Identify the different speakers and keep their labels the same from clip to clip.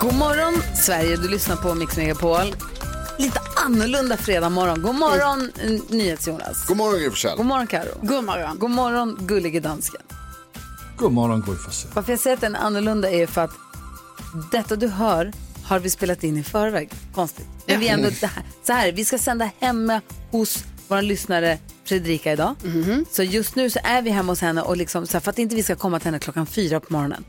Speaker 1: God morgon, Sverige. Du lyssnar på Mix Megapol. Lite annorlunda fredag morgon. God morgon, mm. NyhetsJonas.
Speaker 2: God morgon Gry Forssell.
Speaker 1: God morgon, Karo.
Speaker 3: God morgon.
Speaker 1: God morgon, gullige dansken.
Speaker 4: God morgon Gry Forssell.
Speaker 1: Varför jag säger att den är annorlunda är för att detta du hör har vi spelat in i förväg. Konstigt. Men vi är
Speaker 4: Mm.
Speaker 1: ändå det här. Så här, vi ska sända hemma hos vår lyssnare Fredrika idag.
Speaker 3: Mhm.
Speaker 1: Så just nu så är vi hemma hos henne och liksom, så här, för att inte vi ska komma till henne klockan fyra på morgonen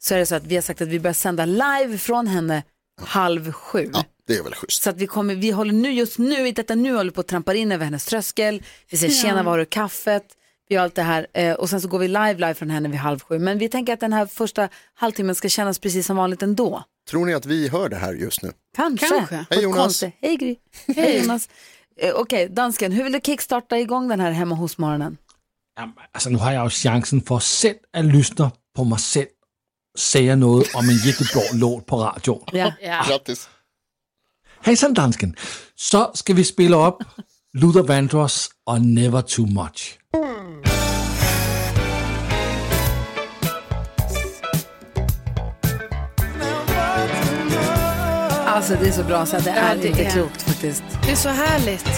Speaker 1: så är det så att vi har sagt att vi börjar sända live från henne halv sju.
Speaker 2: Ja, det är väl schysst.
Speaker 1: Så att vi, kommer, vi håller nu just nu, i detta nu håller vi på att trampa in över hennes tröskel. Vi säger tjena, var har du kaffet? Vi gör allt det här eh, och sen så går vi live, live från henne vid halv sju. Men vi tänker att den här första halvtimmen ska kännas precis som vanligt ändå.
Speaker 2: Tror ni att vi hör det här just nu?
Speaker 1: Kanske.
Speaker 3: Kanske.
Speaker 1: På ett
Speaker 2: Hej, Jonas.
Speaker 1: konstigt- Hej Gry. Hej Jonas. Eh, Okej, dansken, hur vill du kickstarta igång den här hemma hos morgonen?
Speaker 5: Jamen, altså nu har jeg jo chancen for selv at lytte på mig selv, säga noget om en jättebra låt på radioen.
Speaker 1: Ja.
Speaker 2: Grattis.
Speaker 5: Hejsan dansken! Så skal vi spille op Luther Vandross og Never Too Much.
Speaker 1: Alltså det är så bra så att det är
Speaker 3: det
Speaker 1: inte
Speaker 3: är.
Speaker 1: klokt faktiskt.
Speaker 3: Det är så härligt.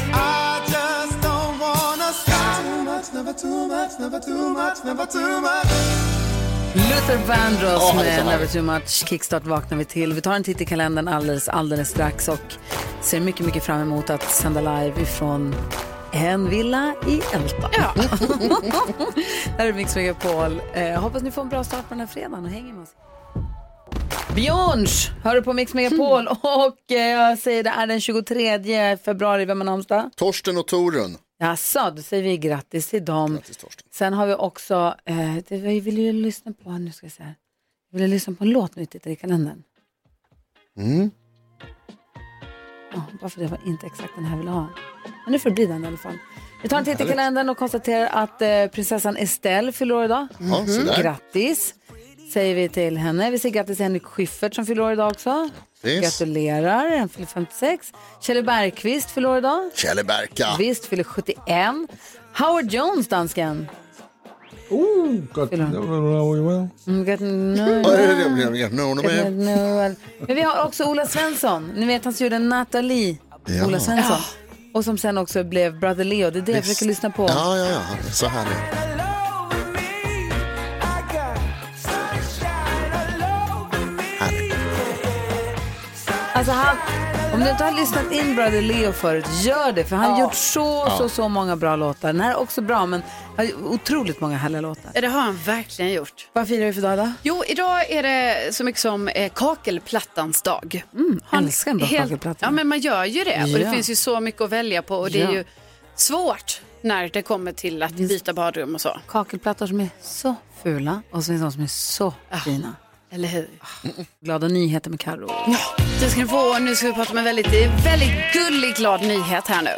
Speaker 1: Luther Vandross
Speaker 2: Åh, han är så
Speaker 1: med
Speaker 2: härlig.
Speaker 1: Never Too Much. Kickstart vaknar vi till. Vi tar en titt i kalendern alldeles, alldeles strax och ser mycket, mycket fram emot att sända live ifrån en villa i Älta. Ja. här är Mix Megapol. Eh, hoppas ni får en bra start på den här fredagen och hänger med oss. Björns, hör du på Mix Megapol? Och eh, jag säger det är den 23 februari, vem har namnsdag?
Speaker 2: Torsten och Torun.
Speaker 1: Jaså, då säger vi grattis till dem.
Speaker 2: Grattis Torsten.
Speaker 1: Sen har vi också, eh, det, jag vill ju lyssna på, nu ska jag säga, jag vill lyssna på en låt nu, tittar i kalendern.
Speaker 2: Mm.
Speaker 1: Ja, bara för det var inte exakt den här jag ville ha. Men nu får det bli den i alla fall. Vi tar en titt i kalendern och konstaterar att eh, prinsessan Estelle fyller år idag. Mm.
Speaker 2: Ja, se där.
Speaker 1: Grattis säger vi till henne. Vi säger grattis till Henrik Schyffert som fyller år idag också.
Speaker 2: Grattis.
Speaker 1: Gratulerar, han fyller 56. Kjell Bergqvist fyller år idag.
Speaker 2: Kjelle Berka.
Speaker 1: Visst, fyller 71. Howard Jones, dansken.
Speaker 5: Uh, godt.
Speaker 1: Mm, grat- nu-
Speaker 2: Ja, det är det jag blev- jag blev- jag blev-
Speaker 1: Men vi har också Ola Svensson. Ni vet han som gjorde Nathalie.
Speaker 2: Ja.
Speaker 1: Ola Svensson. Och som sen också blev Brother Leo. Det är det jag försöker lyssna på.
Speaker 2: Ja, ja, ja. Han är Så härlig.
Speaker 1: Alltså han, om du inte har lyssnat in Brother Leo förut, gör det. För han har gjort så, så, så många bra låtar. Den här är också bra, men han har otroligt många härliga låtar.
Speaker 3: Ja, Det har han verkligen gjort.
Speaker 1: Vad firar vi för dag då?
Speaker 3: Jo, idag är det så mycket som eh, kakelplattans dag.
Speaker 1: Han Mm, älskar en bra
Speaker 3: Helt-
Speaker 1: kakelplatta.
Speaker 3: Ja, men man gör ju det. Och
Speaker 1: Ja.
Speaker 3: det finns ju så mycket att välja på och det
Speaker 1: Ja.
Speaker 3: är ju svårt när det kommer till att byta badrum och så.
Speaker 1: Kakelplattor som är så fula och så finns de som är så fina.
Speaker 3: Eller hur?
Speaker 1: Ah. Glada nyheter med Carro.
Speaker 3: Det ska ni få. Nu ska vi prata om en väldigt, väldigt gullig, glad nyhet här nu.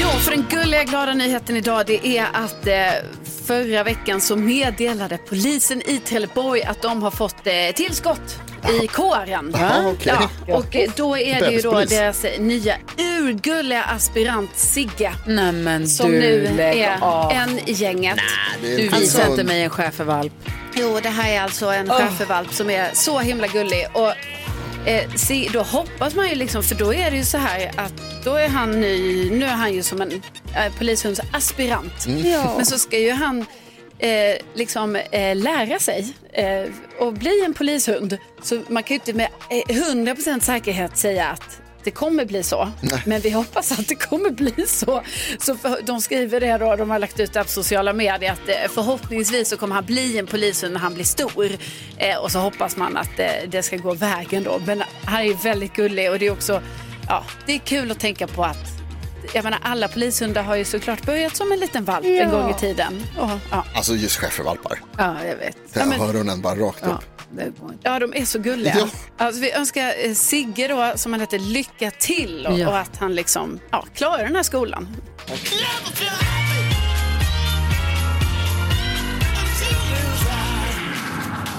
Speaker 3: Jo, för den gulliga glada nyheten idag det är att eh, förra veckan så meddelade polisen i Trelleborg att de har fått eh, tillskott i kåren.
Speaker 2: Jaha, okej.
Speaker 3: ja, och eh, då är det ju då
Speaker 2: Bebispolis.
Speaker 3: deras eh, nya urgulliga aspirant Sigge
Speaker 1: Nej men
Speaker 3: som
Speaker 1: du,
Speaker 3: nu
Speaker 1: lägg
Speaker 3: är Alltså-
Speaker 1: av.
Speaker 3: en i gänget.
Speaker 2: Det är
Speaker 1: Du
Speaker 2: en
Speaker 1: visar
Speaker 2: fin hund.
Speaker 1: inte mig en schäfervalp.
Speaker 3: Jo, det här är alltså en schäfervalp som är så himla gullig. Och eh, se, då hoppas man ju liksom, för då är det ju så här att då är han ny, nu är han ju som en eh, polishundsaspirant.
Speaker 1: Mm.
Speaker 3: Men så ska ju han eh, liksom eh, lära sig eh, och bli en polishund. Så man kan ju inte med eh, 100% säkerhet säga att det kommer bli så, men vi hoppas att det kommer bli så. så för, de skriver det då, de har lagt ut det på sociala medier, att eh, förhoppningsvis så kommer han bli en polishund när han blir stor. Eh, och så hoppas man att eh, det ska gå vägen då. Men han är väldigt gullig och det är också, ja, det är kul att tänka på att jag menar, alla polishundar har ju såklart börjat som en liten valp en gång i tiden. Och, ja,
Speaker 2: Alltså just schäfervalpar.
Speaker 3: ja, jag vet.
Speaker 2: Där
Speaker 3: Ja, men-
Speaker 2: hör hon en bara rakt
Speaker 3: ja,
Speaker 2: upp.
Speaker 3: det går inte. ja, de är så gulliga.
Speaker 2: Ja.
Speaker 3: Alltså, vi önskar eh, Sigge då, som han heter, lycka till och,
Speaker 6: Ja.
Speaker 3: och att han liksom, ja, klarar den här skolan.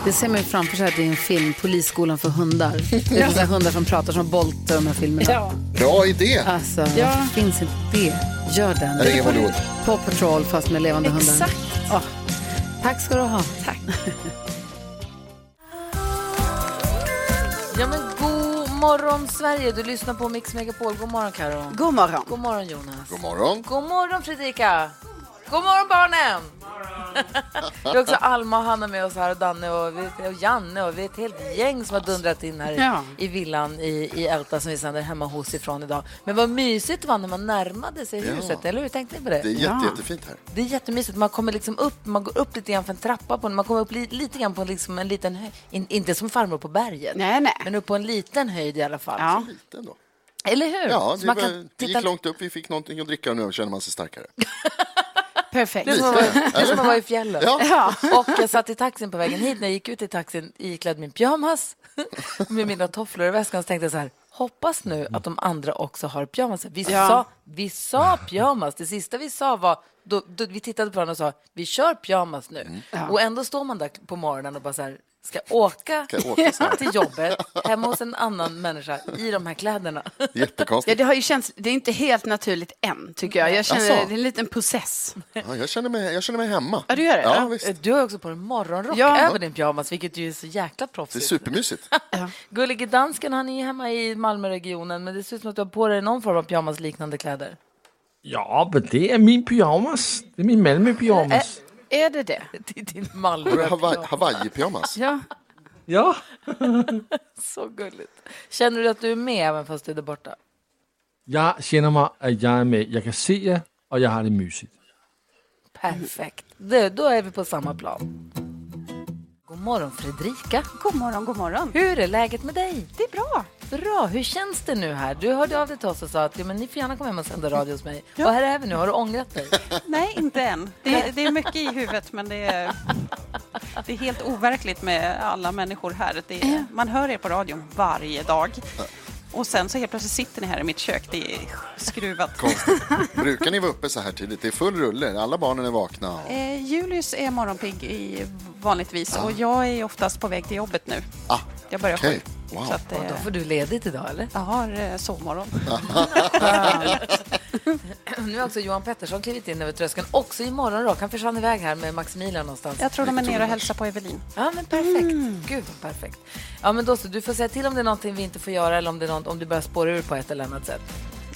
Speaker 6: Det ser man ju framför sig att det är en film, Polisskolan för hundar. Det är ja. hundar som pratar som Bolt i de här filmerna.
Speaker 3: Ja.
Speaker 2: Bra idé!
Speaker 6: Alltså,
Speaker 3: Ja.
Speaker 6: varför finns inte det? Gör den.
Speaker 2: Jag ringer Bollywood.
Speaker 6: Paw Patrol fast med levande hundar.
Speaker 3: Exakt.
Speaker 6: Åh, Tack ska du ha.
Speaker 3: Tack.
Speaker 1: Ja men god morgon Sverige, du lyssnar på Mix Megapol. God morgon Karo.
Speaker 3: God morgon.
Speaker 1: God morgon Jonas.
Speaker 2: God morgon.
Speaker 1: God morgon Fredrika. God morgon barnen. Vi har också Alma och Hanna med oss här och Danne och, vi, och Janne och vi är ett helt gäng som har dundrat in här i,
Speaker 3: Ja.
Speaker 1: i villan i, i Älta som vi sänder hemma hos ifrån idag. Men vad mysigt det var när man närmade sig
Speaker 2: Ja.
Speaker 1: huset, eller hur? Tänkte ni på det?
Speaker 2: Det är jätte, jättefint här.
Speaker 1: Det är jättemysigt. Man kommer liksom upp, man går upp lite grann för en trappa på man kommer upp li, lite grann på liksom en liten höjd. In, inte som farmor på berget.
Speaker 3: Nej, nej.
Speaker 1: Men upp på en liten höjd i alla fall.
Speaker 3: Ja.
Speaker 2: Lite ändå.
Speaker 1: Eller hur?
Speaker 2: Ja,
Speaker 1: Så
Speaker 2: det,
Speaker 1: man
Speaker 2: var,
Speaker 1: kan
Speaker 2: det
Speaker 1: titta...
Speaker 2: gick långt upp, vi fick någonting att dricka och nu känner man sig starkare.
Speaker 1: Det är
Speaker 3: Perfekt.
Speaker 1: som att vara- det är som att vara i fjällen.
Speaker 2: Ja.
Speaker 1: Och jag satt i taxin på vägen hit. När jag gick ut i taxin iklädd min pyjamas med mina tofflor i väskan så tänkte jag så här, hoppas nu att de andra också har pyjamas. Vi, sa, vi sa pyjamas. Det sista vi sa var, då, då, vi tittade på varandra och sa, vi kör pyjamas nu.
Speaker 2: Mm.
Speaker 1: Och ändå står man där på morgonen och bara så här, ska åka,
Speaker 2: Ska jag åka snart?
Speaker 1: till jobbet hemma hos en annan människa i de här kläderna.
Speaker 3: Ja,
Speaker 2: Jättekonstigt.
Speaker 3: det, har ju känts, det är inte helt naturligt än, tycker jag. Jag känner
Speaker 2: Jaså?
Speaker 3: det är en liten process.
Speaker 2: Ja, jag, känner mig, jag känner mig hemma.
Speaker 3: Ja, du gör det?
Speaker 2: Ja,
Speaker 3: Ja.
Speaker 2: visst.
Speaker 1: Du har ju också på dig en morgonrock
Speaker 3: Ja.
Speaker 1: över din pyjamas, vilket ju är så jäkla
Speaker 2: Det är
Speaker 1: proffsigt.
Speaker 2: supermysigt.
Speaker 1: Gullige dansken, han är ju hemma i Malmöregionen, men det ser ut som att du har på dig någon form av pyjamasliknande kläder.
Speaker 5: Ja, men det är min pyjamas. Det är min Malmö-pyjamas.
Speaker 3: Är det det?
Speaker 1: Det är din
Speaker 2: Har du
Speaker 1: Malmö.
Speaker 2: Hawaii- Hawaii-pyjamas?
Speaker 3: Ja.
Speaker 5: Ja.
Speaker 1: Så gulligt. Känner du att du är med även fast du är där borta?
Speaker 5: Jag känner mig att jag är med. Jag kan se er och jag har det mysigt.
Speaker 1: Perfekt. Det, då är vi på samma plan. God morgon Fredrika.
Speaker 7: God morgon, god morgon.
Speaker 1: Hur är läget med dig?
Speaker 7: Det är bra.
Speaker 1: Bra, hur känns det nu här? Du hörde av dig till oss och sa att ja, men ni får gärna komma hem och sända radio hos mig. Och här är vi nu, har du ångrat dig?
Speaker 7: Nej, inte än. Det, det är mycket i huvudet, men det är, det är helt overkligt med alla människor här. Det är, man hör er på radion varje dag. Och sen så helt plötsligt sitter ni här i mitt kök. Det är skruvat.
Speaker 2: Brukar ni vara uppe så här tidigt? Det är full rulle, alla barnen är vakna.
Speaker 7: Eh, Julius är morgonpigg i, vanligtvis och jag är oftast på väg till jobbet nu.
Speaker 2: Ah,
Speaker 7: Jag börjar
Speaker 2: okej.
Speaker 7: sju.
Speaker 2: Wow.
Speaker 7: Så att, eh,
Speaker 1: Då får du ledigt idag eller?
Speaker 7: jag har eh, sovmorgon.
Speaker 2: Ah,
Speaker 1: Nu har också Johan Pettersson klivit in över tröskeln, också i morgonrock. Han försvann iväg här med Maximilian någonstans.
Speaker 7: Jag tror de är nere och hälsar på Evelin.
Speaker 1: Ja, men perfekt.
Speaker 7: Mm.
Speaker 1: Gud, vad perfekt. Ja, men då så, du får säga till om det är någonting vi inte får göra eller om, det är något, om du börjar spåra ur på ett eller annat sätt.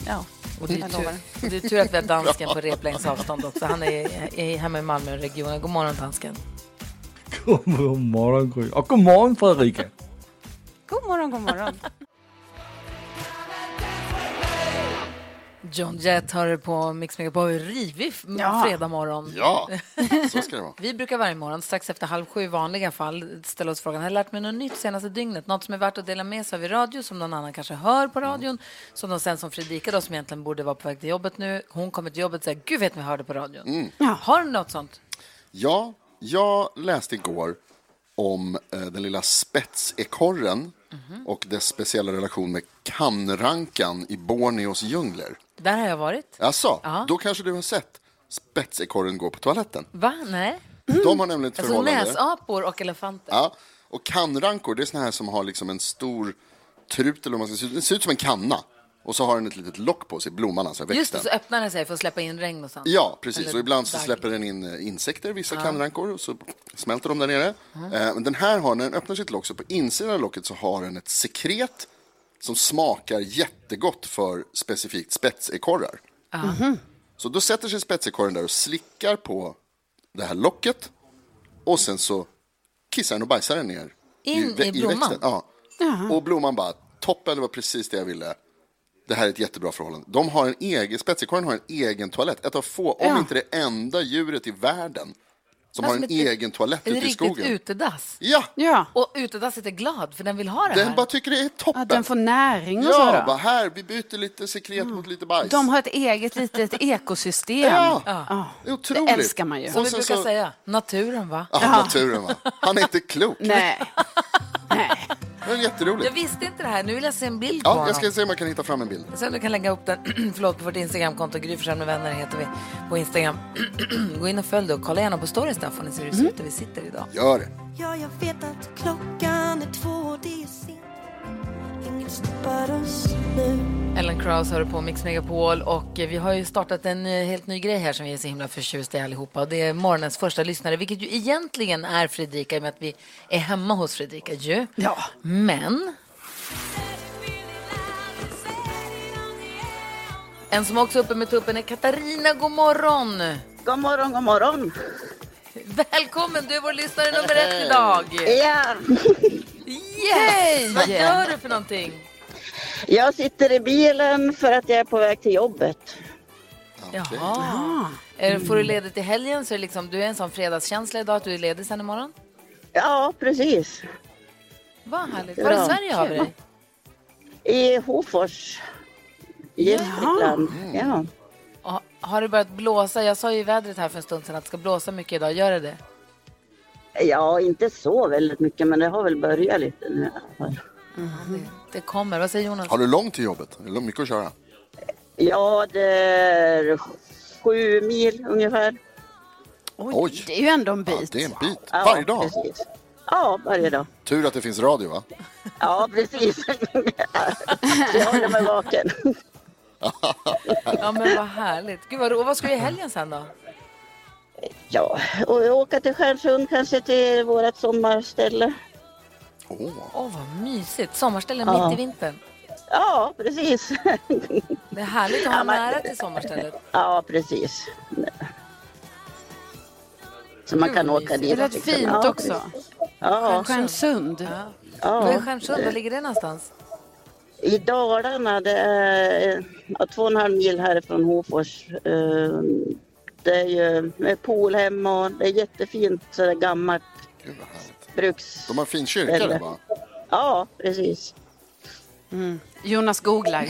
Speaker 7: Ja,
Speaker 1: Och det, är
Speaker 7: jag
Speaker 1: tur,
Speaker 7: lovar.
Speaker 1: det är tur att vi har dansken på replängds avstånd också. Han är, är hemma i Malmöregionen. God morgon, dansken.
Speaker 5: God morgon, Gry. Och god morgon, Fredrika.
Speaker 7: God morgon, god morgon.
Speaker 1: John Jett har det på Mix Megapol. Rivig f- fredag morgon.
Speaker 2: Ja, så ska det vara.
Speaker 1: Vi brukar varje morgon, strax efter halv sju i vanliga fall, ställa oss frågan, har jag lärt mig något nytt senaste dygnet? Något som är värt att dela med sig av i radio, som någon annan kanske hör på radion, som de sen som Fredrika då, som egentligen borde vara på väg till jobbet nu, hon kommer till jobbet och säger, gud vet ni vad jag hörde på radion?
Speaker 2: Mm.
Speaker 1: Har du något sånt?
Speaker 2: Ja, jag läste igår om eh, den lilla spetsekorren
Speaker 1: Mhm.
Speaker 2: och dess speciella relation med kamrankan i Borneos djungler.
Speaker 1: Där har jag varit.
Speaker 2: Jaså, då kanske du har sett spetsekorren gå på toaletten?
Speaker 1: Va? Nej?
Speaker 2: De har nämligen ett
Speaker 1: Alltså
Speaker 2: förhållande.
Speaker 1: näsapor och elefanter.
Speaker 2: Ja, och kannrankor, det är såna här som har liksom en stor trut, eller vad man ska säga, den ser ut som en kanna. Och så har den ett litet lock på sig, blomman, alltså växten.
Speaker 1: Just det, så öppnar den sig för att släppa in regn och sånt.
Speaker 2: Ja, precis.
Speaker 1: Eller
Speaker 2: och ibland så
Speaker 1: dagg.
Speaker 2: släpper den in eh, insekter, vissa kamrankor, och så smälter de där nere. Eh, men den här har, när den öppnar sitt lock, så på insidan av locket så har den ett sekret som smakar jättegott för specifikt spetsekorrar. Så då sätter sig spetsekorren där och slickar på det här locket och sen så kissar den och bajsar den ner
Speaker 1: In
Speaker 2: vä-
Speaker 1: i blomman?
Speaker 2: växten. Ja. Och blomman bara, toppen, det var precis det jag ville. Det här är ett jättebra förhållande. De har en egen, spetsekorren har en egen toalett. Ett av få, om inte det enda djuret i världen Som
Speaker 1: Ja,
Speaker 2: har
Speaker 1: som
Speaker 2: en
Speaker 1: ett-
Speaker 2: egen toalett
Speaker 1: En
Speaker 2: ute i
Speaker 1: riktigt
Speaker 2: skogen.
Speaker 1: utedass.
Speaker 2: Ja,
Speaker 7: Ja,
Speaker 1: Och utedasset är glad för den vill ha det här.
Speaker 2: den bara tycker det är toppen.
Speaker 3: Att den får näring och så.
Speaker 2: ja,
Speaker 3: Då.
Speaker 2: bara här, vi byter lite sekret mot lite bajs.
Speaker 3: De har ett eget litet ekosystem.
Speaker 2: Ja,
Speaker 3: Ja.
Speaker 2: det är otroligt.
Speaker 3: Det älskar man ju.
Speaker 2: Och
Speaker 3: Som
Speaker 1: Vi
Speaker 2: sen
Speaker 1: brukar
Speaker 2: så-
Speaker 1: säga, naturen va?
Speaker 2: Ja, naturen va. Han är inte klok.
Speaker 3: Nej. Nej.
Speaker 2: Men jätteroligt.
Speaker 1: Jag visste inte det här, nu vill jag se en bild på
Speaker 2: Ja,
Speaker 1: honom.
Speaker 2: jag ska se om jag kan hitta fram en bild.
Speaker 1: Sen du kan lägga upp den, förlåt, på vårt Instagramkonto, Gry Forssell med vänner heter vi på Instagram. Gå in och följ det och kolla gärna på stories där får ni se hur det ser ut där vi sitter idag.
Speaker 2: Gör det.
Speaker 8: Ja, jag vet att klockan är två och det är sent. Inget stoppar oss nu.
Speaker 1: Ellen Krauss hör på Mix Megapol och eh, vi har ju startat en eh, helt ny grej här som vi är så himla förtjusta i allihopa och det är morgonens första lyssnare, vilket ju egentligen är Fredrika i och med att vi är hemma hos Fredrika ju. Ja. Men en som också är uppe med tuppen är Katarina, god morgon!
Speaker 9: God morgon, god morgon.
Speaker 1: Välkommen, du är vår lyssnare nummer ett idag!
Speaker 9: Ja,
Speaker 1: Yes! Vad gör du för någonting?
Speaker 9: jag sitter i bilen för att jag är på väg till jobbet.
Speaker 1: Jaha. Är- Får du ledigt i helgen så är det liksom, du är en sån fredagskänsla idag att du är ledig sen imorgon?
Speaker 9: Ja, precis.
Speaker 1: Vad härligt. Var är
Speaker 9: Ja.
Speaker 1: Sverige av dig?
Speaker 9: I Hofors, Gästrikland. Ja.
Speaker 1: Och Har det börjat blåsa? Jag sa ju i vädret här för en stund sedan att det ska blåsa mycket idag. Gör det det?
Speaker 9: ja, inte så väldigt mycket, men det har väl börjat lite nu. i alla fall.
Speaker 1: Det, det kommer. Vad säger Jonas?
Speaker 2: Har du långt till jobbet? Är det mycket att köra?
Speaker 9: Ja, det är sju mil ungefär.
Speaker 3: Oj,
Speaker 2: Oj.
Speaker 3: Det är ju ändå en
Speaker 2: Ja,
Speaker 3: bit.
Speaker 2: det är en bit.
Speaker 9: Ja,
Speaker 2: Varje dag.
Speaker 9: Precis. Ja, varje dag.
Speaker 2: Tur att det finns radio va?
Speaker 9: Ja, precis. Jag håller mig vaken.
Speaker 1: Ja, men vad härligt. Gud, vad ro. Och vad ska du i helgen sen då?
Speaker 9: Ja, och åka till Stjärnsund kanske till vårt sommarställe.
Speaker 2: Åh,
Speaker 1: Åh, vad mysigt. Sommarställe
Speaker 9: Ja.
Speaker 1: mitt i vintern.
Speaker 9: Ja, precis.
Speaker 1: Det är härligt att ha
Speaker 9: Ja, men-
Speaker 1: nära till sommarstället.
Speaker 9: Ja, precis. Så man kan åka dit.
Speaker 3: Det är rätt
Speaker 9: liksom.
Speaker 3: fint
Speaker 9: ja,
Speaker 3: också.
Speaker 9: Ja,
Speaker 3: Stjärnsund.
Speaker 1: Vad är
Speaker 9: ja.
Speaker 1: Stjärnsund? Var ligger det någonstans?
Speaker 9: I Dalarna, det är eh, ja, två och en halv mil härifrån Hofors. Eh, Det är ju med pool hemma och det är jättefint sådär gammalt
Speaker 2: gud vad härligt.
Speaker 9: bruks...
Speaker 2: De har en fin kyrka där va?
Speaker 9: Ja, precis.
Speaker 3: Jonas googlar.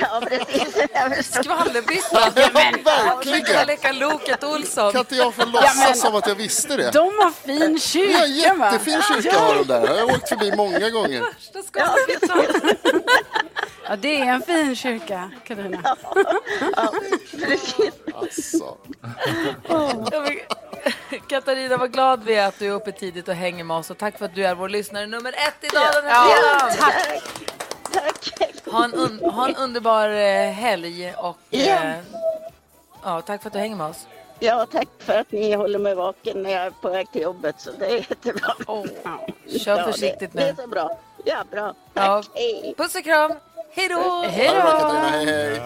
Speaker 9: Ja, precis. Jag förstår.
Speaker 1: Skvallerbytta!
Speaker 2: Ja,
Speaker 1: Sluta
Speaker 2: verkligen!
Speaker 1: leka Loket Olsson.
Speaker 2: Kan inte jag få låtsas som att jag visste det?
Speaker 3: De har fin
Speaker 2: Ja,
Speaker 3: kyrka va?
Speaker 2: jättefin kyrka har de där. Jag har åkt förbi många gånger.
Speaker 1: Första skvallerbyttan.
Speaker 3: Ja, det är en fin kyrka, Carina.
Speaker 2: Alltså.
Speaker 1: Ja, men- Katarina, vad glad vi är att du är uppe tidigt och hänger med oss. Och tack för att du är vår lyssnare nummer ett idag den här fredagen.
Speaker 9: Tack.
Speaker 1: Ha en, un- ha en underbar eh, helg och eh, ja, tack för att du hänger med oss.
Speaker 9: Ja, tack för att ni håller mig vaken när jag är på väg till jobbet. Så det är jättebra. Ja,
Speaker 1: Kör försiktigt
Speaker 9: det,
Speaker 1: nu.
Speaker 9: Det är så bra. Ja, bra. Tack.
Speaker 1: Ja.
Speaker 9: Hej.
Speaker 1: Puss och kram! Hej då!
Speaker 2: Ha det bra Katarina, hej hej.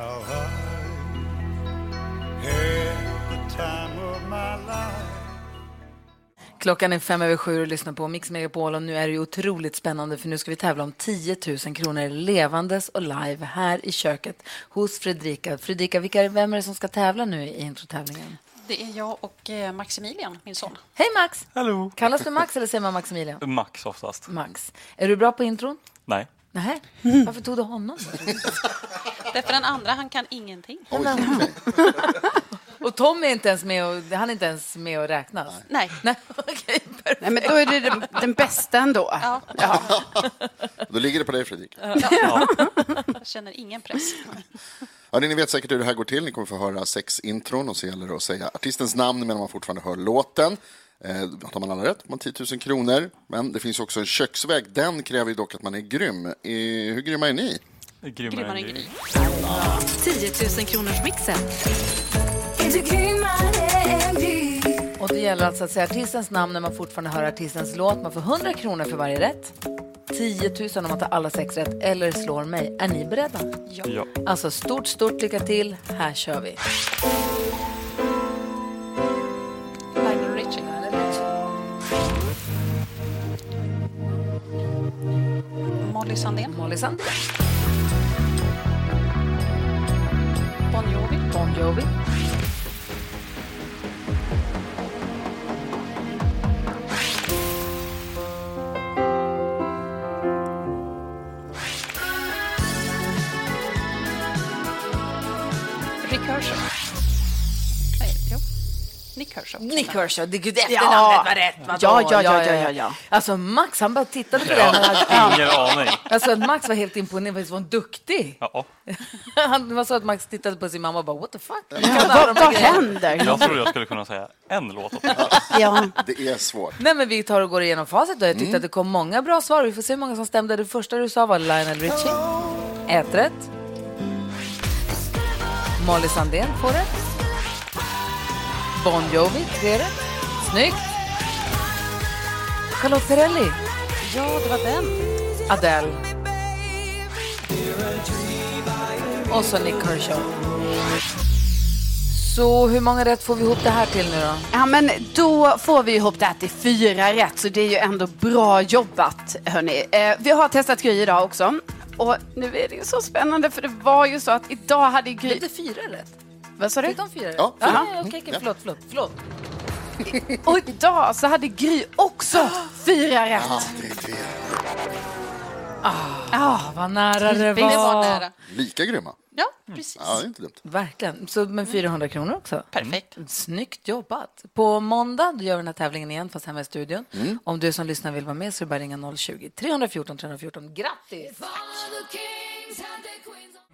Speaker 1: Klockan är fem över sju och lyssnar på Mix Megapol och nu är det ju otroligt spännande för nu ska vi tävla om 10 000 kronor levandes och live här i köket hos Fredrika. Fredrika, vilka, är- vem är det som ska tävla nu i introtävlingen?
Speaker 7: det är jag och eh, Maximilian, min son.
Speaker 1: Hej Max!
Speaker 10: Hallå!
Speaker 1: Kallas du Max eller säger man Maximilian?
Speaker 10: Max oftast.
Speaker 1: Max. Är du bra på intron?
Speaker 10: Nej.
Speaker 1: Nej. Varför tog du honom?
Speaker 7: Därför den andra, han kan ingenting.
Speaker 1: Och Tom är inte ens med och, han är inte ens med och räknas?
Speaker 7: Nej.
Speaker 1: Nej, okej. perfekt.
Speaker 3: Nej, men då är det den- den bästa ändå.
Speaker 7: Ja,
Speaker 2: Då ligger det på dig Fredrik.
Speaker 7: jag känner ingen press.
Speaker 2: Ja, ni vet säkert hur det här går till. Ni kommer få höra sex intron och så gäller det att säga artistens namn medan man fortfarande hör låten. Eh, då tar man alla rätt, man har 10 000 kronor. Men det finns också en köksväg. Den kräver ju dock att man är grym. Eh, hur grymma är ni?
Speaker 7: Grymmare än Gry.
Speaker 8: 10 000 kronors mixen. Är du grymmare än Gry?
Speaker 1: Och det gäller alltså att säga artistens namn när man fortfarande hör artistens låt. Man får 100 kronor för varje rätt. 10 000 om man tar alla sex rätt eller slår mig. Är ni beredda?
Speaker 10: Ja.
Speaker 1: Alltså stort, stort lycka till. Här kör vi.
Speaker 7: Lionel Richie. Molly Sandén.
Speaker 1: Molly Sandén,
Speaker 7: Bon Jovi.
Speaker 1: Bon Jovi,
Speaker 7: Nick Kershaw.
Speaker 1: Nick Kershaw, det gud
Speaker 7: Ja.
Speaker 1: efternamnet var rätt. vadå?
Speaker 7: Ja, ja, ja, ja, ja, ja.
Speaker 1: Alltså Max, han bara tittade på
Speaker 10: Ja,
Speaker 1: den. och hade-
Speaker 10: ingen aning.
Speaker 1: Alltså att Max var helt imponerad, visst var han duktig?
Speaker 10: Ja.
Speaker 1: Han det var så att Max tittade på sin mamma och bara what the fuck?
Speaker 3: Vad- vad händer?
Speaker 10: Jag trodde jag skulle kunna säga en låt åt
Speaker 3: Ja.
Speaker 2: Det är svårt.
Speaker 1: Nej men vi tar och går igenom facit då. Jag tyckte
Speaker 10: Mm.
Speaker 1: att det kom många bra svar. Vi får se hur många som stämde. Det första du sa var Lionel Richie. Ett rätt. Molly Sandén får rätt. Bon Jovi, tre rätt. Snyggt. Charlotte Perrelli.
Speaker 7: Ja, det var den.
Speaker 1: Adele. Och så Nick Kershaw. Så hur många rätt får vi ihop det här till nu då?
Speaker 3: Ja, men då får vi ihop det här till fyra rätt, så det är ju ändå bra jobbat, hörni. Eh, vi har testat Gry idag också. Och nu är det ju så spännande, för det var ju så att idag hade Gry... Blev
Speaker 1: det fyra rätt?
Speaker 3: Vad sa du?
Speaker 1: Fick de fyra rätt? Ja,
Speaker 3: Jaha.
Speaker 1: okej, okej, förlåt, förlåt, förlåt.
Speaker 3: Och idag så hade Gry också fyra rätt.
Speaker 2: Ja, det är det.
Speaker 1: Ah, vad nära det var.
Speaker 3: Typiskt. Det var nära.
Speaker 2: Lika grymma.
Speaker 3: Ja, precis.
Speaker 2: Ja, det är inte dumt.
Speaker 1: Verkligen. Så, men 400 kronor också.
Speaker 7: Perfekt.
Speaker 1: Snyggt jobbat. På måndag då gör vi den här tävlingen igen, fast hemma i studion.
Speaker 3: Mm.
Speaker 1: Om du som lyssnar vill vara med så är det bara att ringa 020-314 314. Grattis!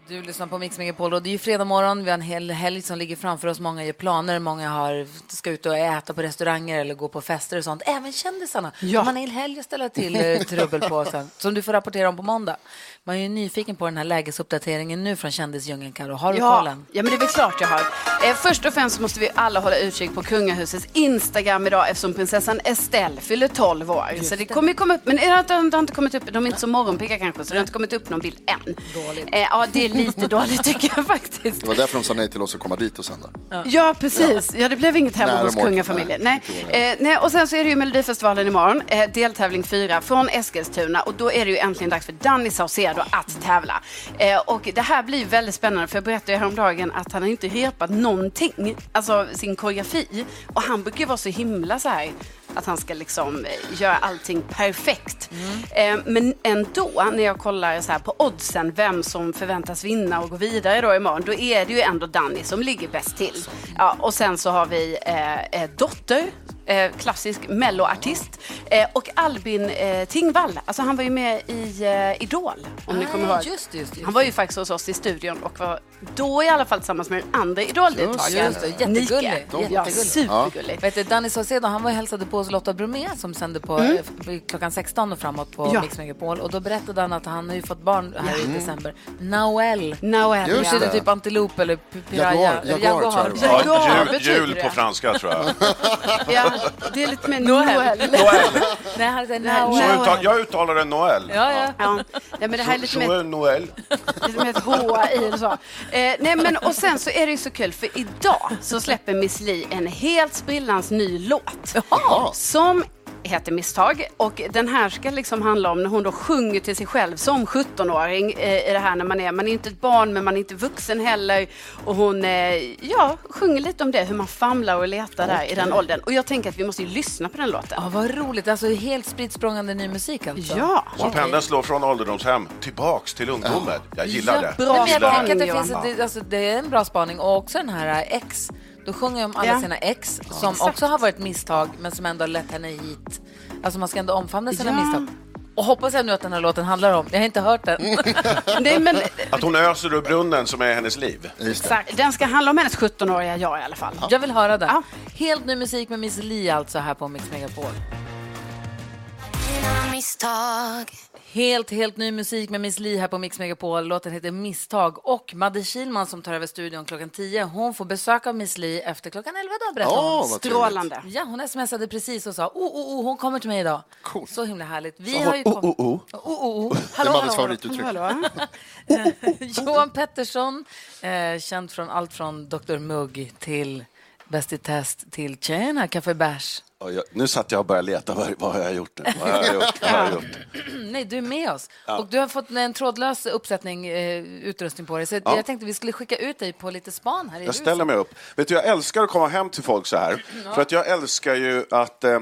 Speaker 1: Du lyssnar på Mix Megapol och det är ju fredag morgon. Vi har en hel helg som ligger framför oss. Många gör planer, många har, ska ut och äta på restauranger eller gå på fester och sånt. Även kändisarna.
Speaker 3: Ja.
Speaker 1: Man har en hel helg att ställa till eh, trubbel på sen, som du får rapportera om på måndag. Man är ju nyfiken på den här lägesuppdateringen nu från kändisdjungeln, Karo. Har du
Speaker 3: ja,
Speaker 1: kollen?
Speaker 3: ja, men det är väl klart jag har. Eh, först och främst måste vi alla hålla utkik på kungahusets Instagram idag eftersom prinsessan Estelle fyller 12 år. så det kommer ju komma upp, men det har, inte- det har inte kommit upp, de är inte så morgonpigga kanske, så det har inte kommit upp någon bild än. Dåligt. Eh, ja, det är lite dåligt tycker jag faktiskt.
Speaker 2: Det var därför de sa nej till oss att komma dit och sända.
Speaker 3: Ja, precis. Ja, det blev inget hemma
Speaker 2: Nära
Speaker 3: hos
Speaker 2: mål.
Speaker 3: kungafamiljen. Nej.
Speaker 2: Nej,
Speaker 3: Eh, nej, och sen så är det ju Melodifestivalen imorgon, eh, deltävling fyra från Eskilstuna och då är det ju äntligen dags för Danny Saucedo att tävla. Eh, och det här blir ju väldigt spännande för jag berättade ju häromdagen att han har inte repat någonting, alltså sin koreografi. Och han brukar ju vara så himla så här att han ska liksom eh, göra allting perfekt.
Speaker 1: Mm.
Speaker 3: Eh, men ändå, när jag kollar så här på oddsen, vem som förväntas vinna och gå vidare då imorgon, då är det ju ändå Danny som ligger bäst till. Ja, och sen så har vi eh, eh, Dotter, eh, klassisk melloartist, eh, och Albin eh, Tingvall, alltså han var ju med i eh, Idol, om ni
Speaker 1: Ah,
Speaker 3: kommer ihåg.
Speaker 1: just det, just det, just
Speaker 3: han var ju faktiskt hos oss i studion och var då i alla fall tillsammans med den andra Idol-deltagaren.
Speaker 1: Just det, jättegullig.
Speaker 3: Nike. Ja, supergullig.
Speaker 1: Vet du, Danny Saucedo, han var och hälsade på oss Lotta Bromé som sände på
Speaker 3: Mm.
Speaker 1: eh, klockan 16 och framåt på
Speaker 3: Ja.
Speaker 1: Mix Megapol. Och då berättade han att han har ju fått barn här
Speaker 3: Ja.
Speaker 1: i december. Noel.
Speaker 3: Noel,
Speaker 1: Just
Speaker 3: Just
Speaker 1: det.
Speaker 3: det.
Speaker 1: typ antilop eller pi- piraya.
Speaker 3: Jaguar,
Speaker 1: Eller
Speaker 3: jaguar tror jag det var.
Speaker 1: Jaguar
Speaker 11: Ja, jul,
Speaker 1: betyder
Speaker 11: jul
Speaker 1: det.
Speaker 11: på franska tror jag.
Speaker 3: Ja, det är lite mer Noel.
Speaker 1: Nej, han säger
Speaker 11: Så jag,
Speaker 1: Noel.
Speaker 11: uttal, jag uttalar det Noël.
Speaker 1: Ja, ja.
Speaker 3: ja. Nej, men det här är lite mer
Speaker 11: Joël Noël.
Speaker 3: Lite med ett H i och så. Eh, nej, men och sen så är det ju så kul för idag så släpper Miss Li en helt sprillans ny låt. Som heter Misstag och den här ska liksom handla om när hon då sjunger till sig själv som 17-åring eh, i det här när man är, man är inte ett barn men man är inte vuxen heller och hon, eh, ja, sjunger lite om det hur man famlar och letar där i den
Speaker 1: Okej.
Speaker 3: åldern och jag tänker att vi måste ju lyssna på den låten.
Speaker 1: Ja, vad roligt. Alltså helt spritt språngande ny musik alltså.
Speaker 3: Ja.
Speaker 11: Så pendeln slår från ålderdomshem tillbaks till ungdomen. Jag gillar det.
Speaker 1: Bra men jag
Speaker 11: Gillar
Speaker 1: tänker att det, finns, det, alltså, det är en bra spaning. Och också den här eh, ex. Då sjunger jag om alla
Speaker 3: Ja.
Speaker 1: sina ex
Speaker 3: Ja.
Speaker 1: som
Speaker 3: Exakt.
Speaker 1: också har varit misstag men som ändå har lett henne hit. Alltså man ska ändå omfamna sina
Speaker 3: Ja.
Speaker 1: misstag. Och hoppas jag nu att den här låten handlar om. Jag har inte hört den.
Speaker 3: Mm. Nej, men
Speaker 11: Att hon öser ur brunnen som är hennes liv.
Speaker 3: Exakt. Den ska handla om hennes 17-åriga jag i alla fall.
Speaker 1: Jag vill höra den. Helt ny musik med Miss Li alltså här på Mix Megapol. Helt, helt ny musik med Miss Li här på Mix Megapol. Låten heter Misstag. Och Madde Kilman som tar över studion klockan 10, hon får besök av Miss Li efter klockan 11 idag berättar
Speaker 3: Åh,
Speaker 1: hon.
Speaker 3: vad trevligt. Strålande.
Speaker 1: Ja, hon smsade precis och sa oh, oh, oh, hon kommer till mig idag. Cool. Så himla härligt. Vi har ju
Speaker 2: oh, oh, oh.
Speaker 1: Oh, oh, oh.
Speaker 2: Det
Speaker 1: Hallå,
Speaker 2: är
Speaker 1: hallå,
Speaker 2: Maddes
Speaker 1: hallå.
Speaker 2: favorituttryck.
Speaker 11: Oh,
Speaker 1: Johan Pettersson, eh, känd från allt från Dr. Mugg till Bäst i test till Tjena, Café Bärs.
Speaker 12: Ja, jag, nu satt jag och började leta. Vad, vad har jag gjort nu? Vad har jag gjort? Vad har jag gjort?
Speaker 1: Nej, du är med oss.
Speaker 12: Ja.
Speaker 1: Och du har fått en trådlös uppsättning eh, utrustning på dig. Så
Speaker 11: Ja.
Speaker 1: jag tänkte vi skulle skicka ut dig på lite span här i
Speaker 11: Jag
Speaker 1: huset.
Speaker 11: ställer mig upp. Vet du, jag älskar att komma hem till folk så här.
Speaker 1: Ja.
Speaker 11: För att jag älskar ju att eh,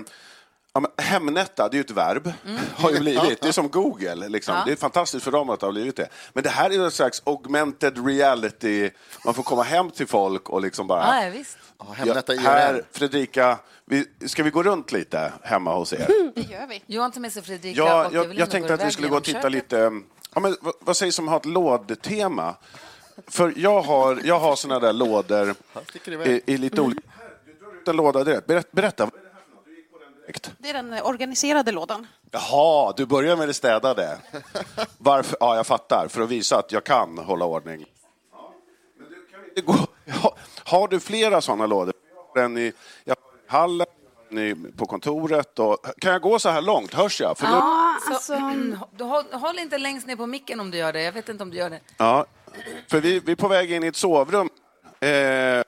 Speaker 11: Ja, men Hemnetta, det är ju ett verb,
Speaker 13: Mm.
Speaker 11: har ju
Speaker 13: Ja,
Speaker 11: blivit. Det är som Google, liksom.
Speaker 13: Ja.
Speaker 11: det är fantastiskt för dem att det har blivit det. Men det här är ju en slags augmented reality, man får komma hem till folk och liksom bara...
Speaker 1: Ja, ja, visst.
Speaker 2: Hemnetta
Speaker 11: Ja,
Speaker 2: IRL.
Speaker 11: här, Fredrika, vi, ska vi gå runt lite hemma hos er?
Speaker 1: Det gör vi. Johan tar med sig Fredrika
Speaker 11: Ja,
Speaker 1: och
Speaker 11: jag,
Speaker 1: Evelina
Speaker 11: jag
Speaker 1: går
Speaker 11: tänkte att vi
Speaker 1: iväg
Speaker 11: skulle gå
Speaker 1: genom
Speaker 11: och titta
Speaker 1: köket.
Speaker 11: lite. um, Ja, men vad, vad sägs om att ha ett lådtema? För jag har, jag har såna där lådor
Speaker 7: sticker iväg. Mm.
Speaker 11: i, i lite olika... En låda direkt. Berätta, berätta. vad är det här för något? Du gick på den direkt.
Speaker 7: Det är den eh, organiserade lådan.
Speaker 11: Jaha, du börjar med det städade. Varför? Ja, jag fattar. För att visa att jag kan hålla ordning. Det går. Ja, Har du flera såna lådor? Jag har en i, jag har en i hallen, jag har en i- på kontoret. Och, kan jag gå så här långt? Hörs jag? För då-
Speaker 1: Så, mm, du håll, håll inte längst ner på micken om du gör det. Jag vet inte om du gör det.
Speaker 11: Ja, för vi, vi är på väg in i ett sovrum. Eh, ja,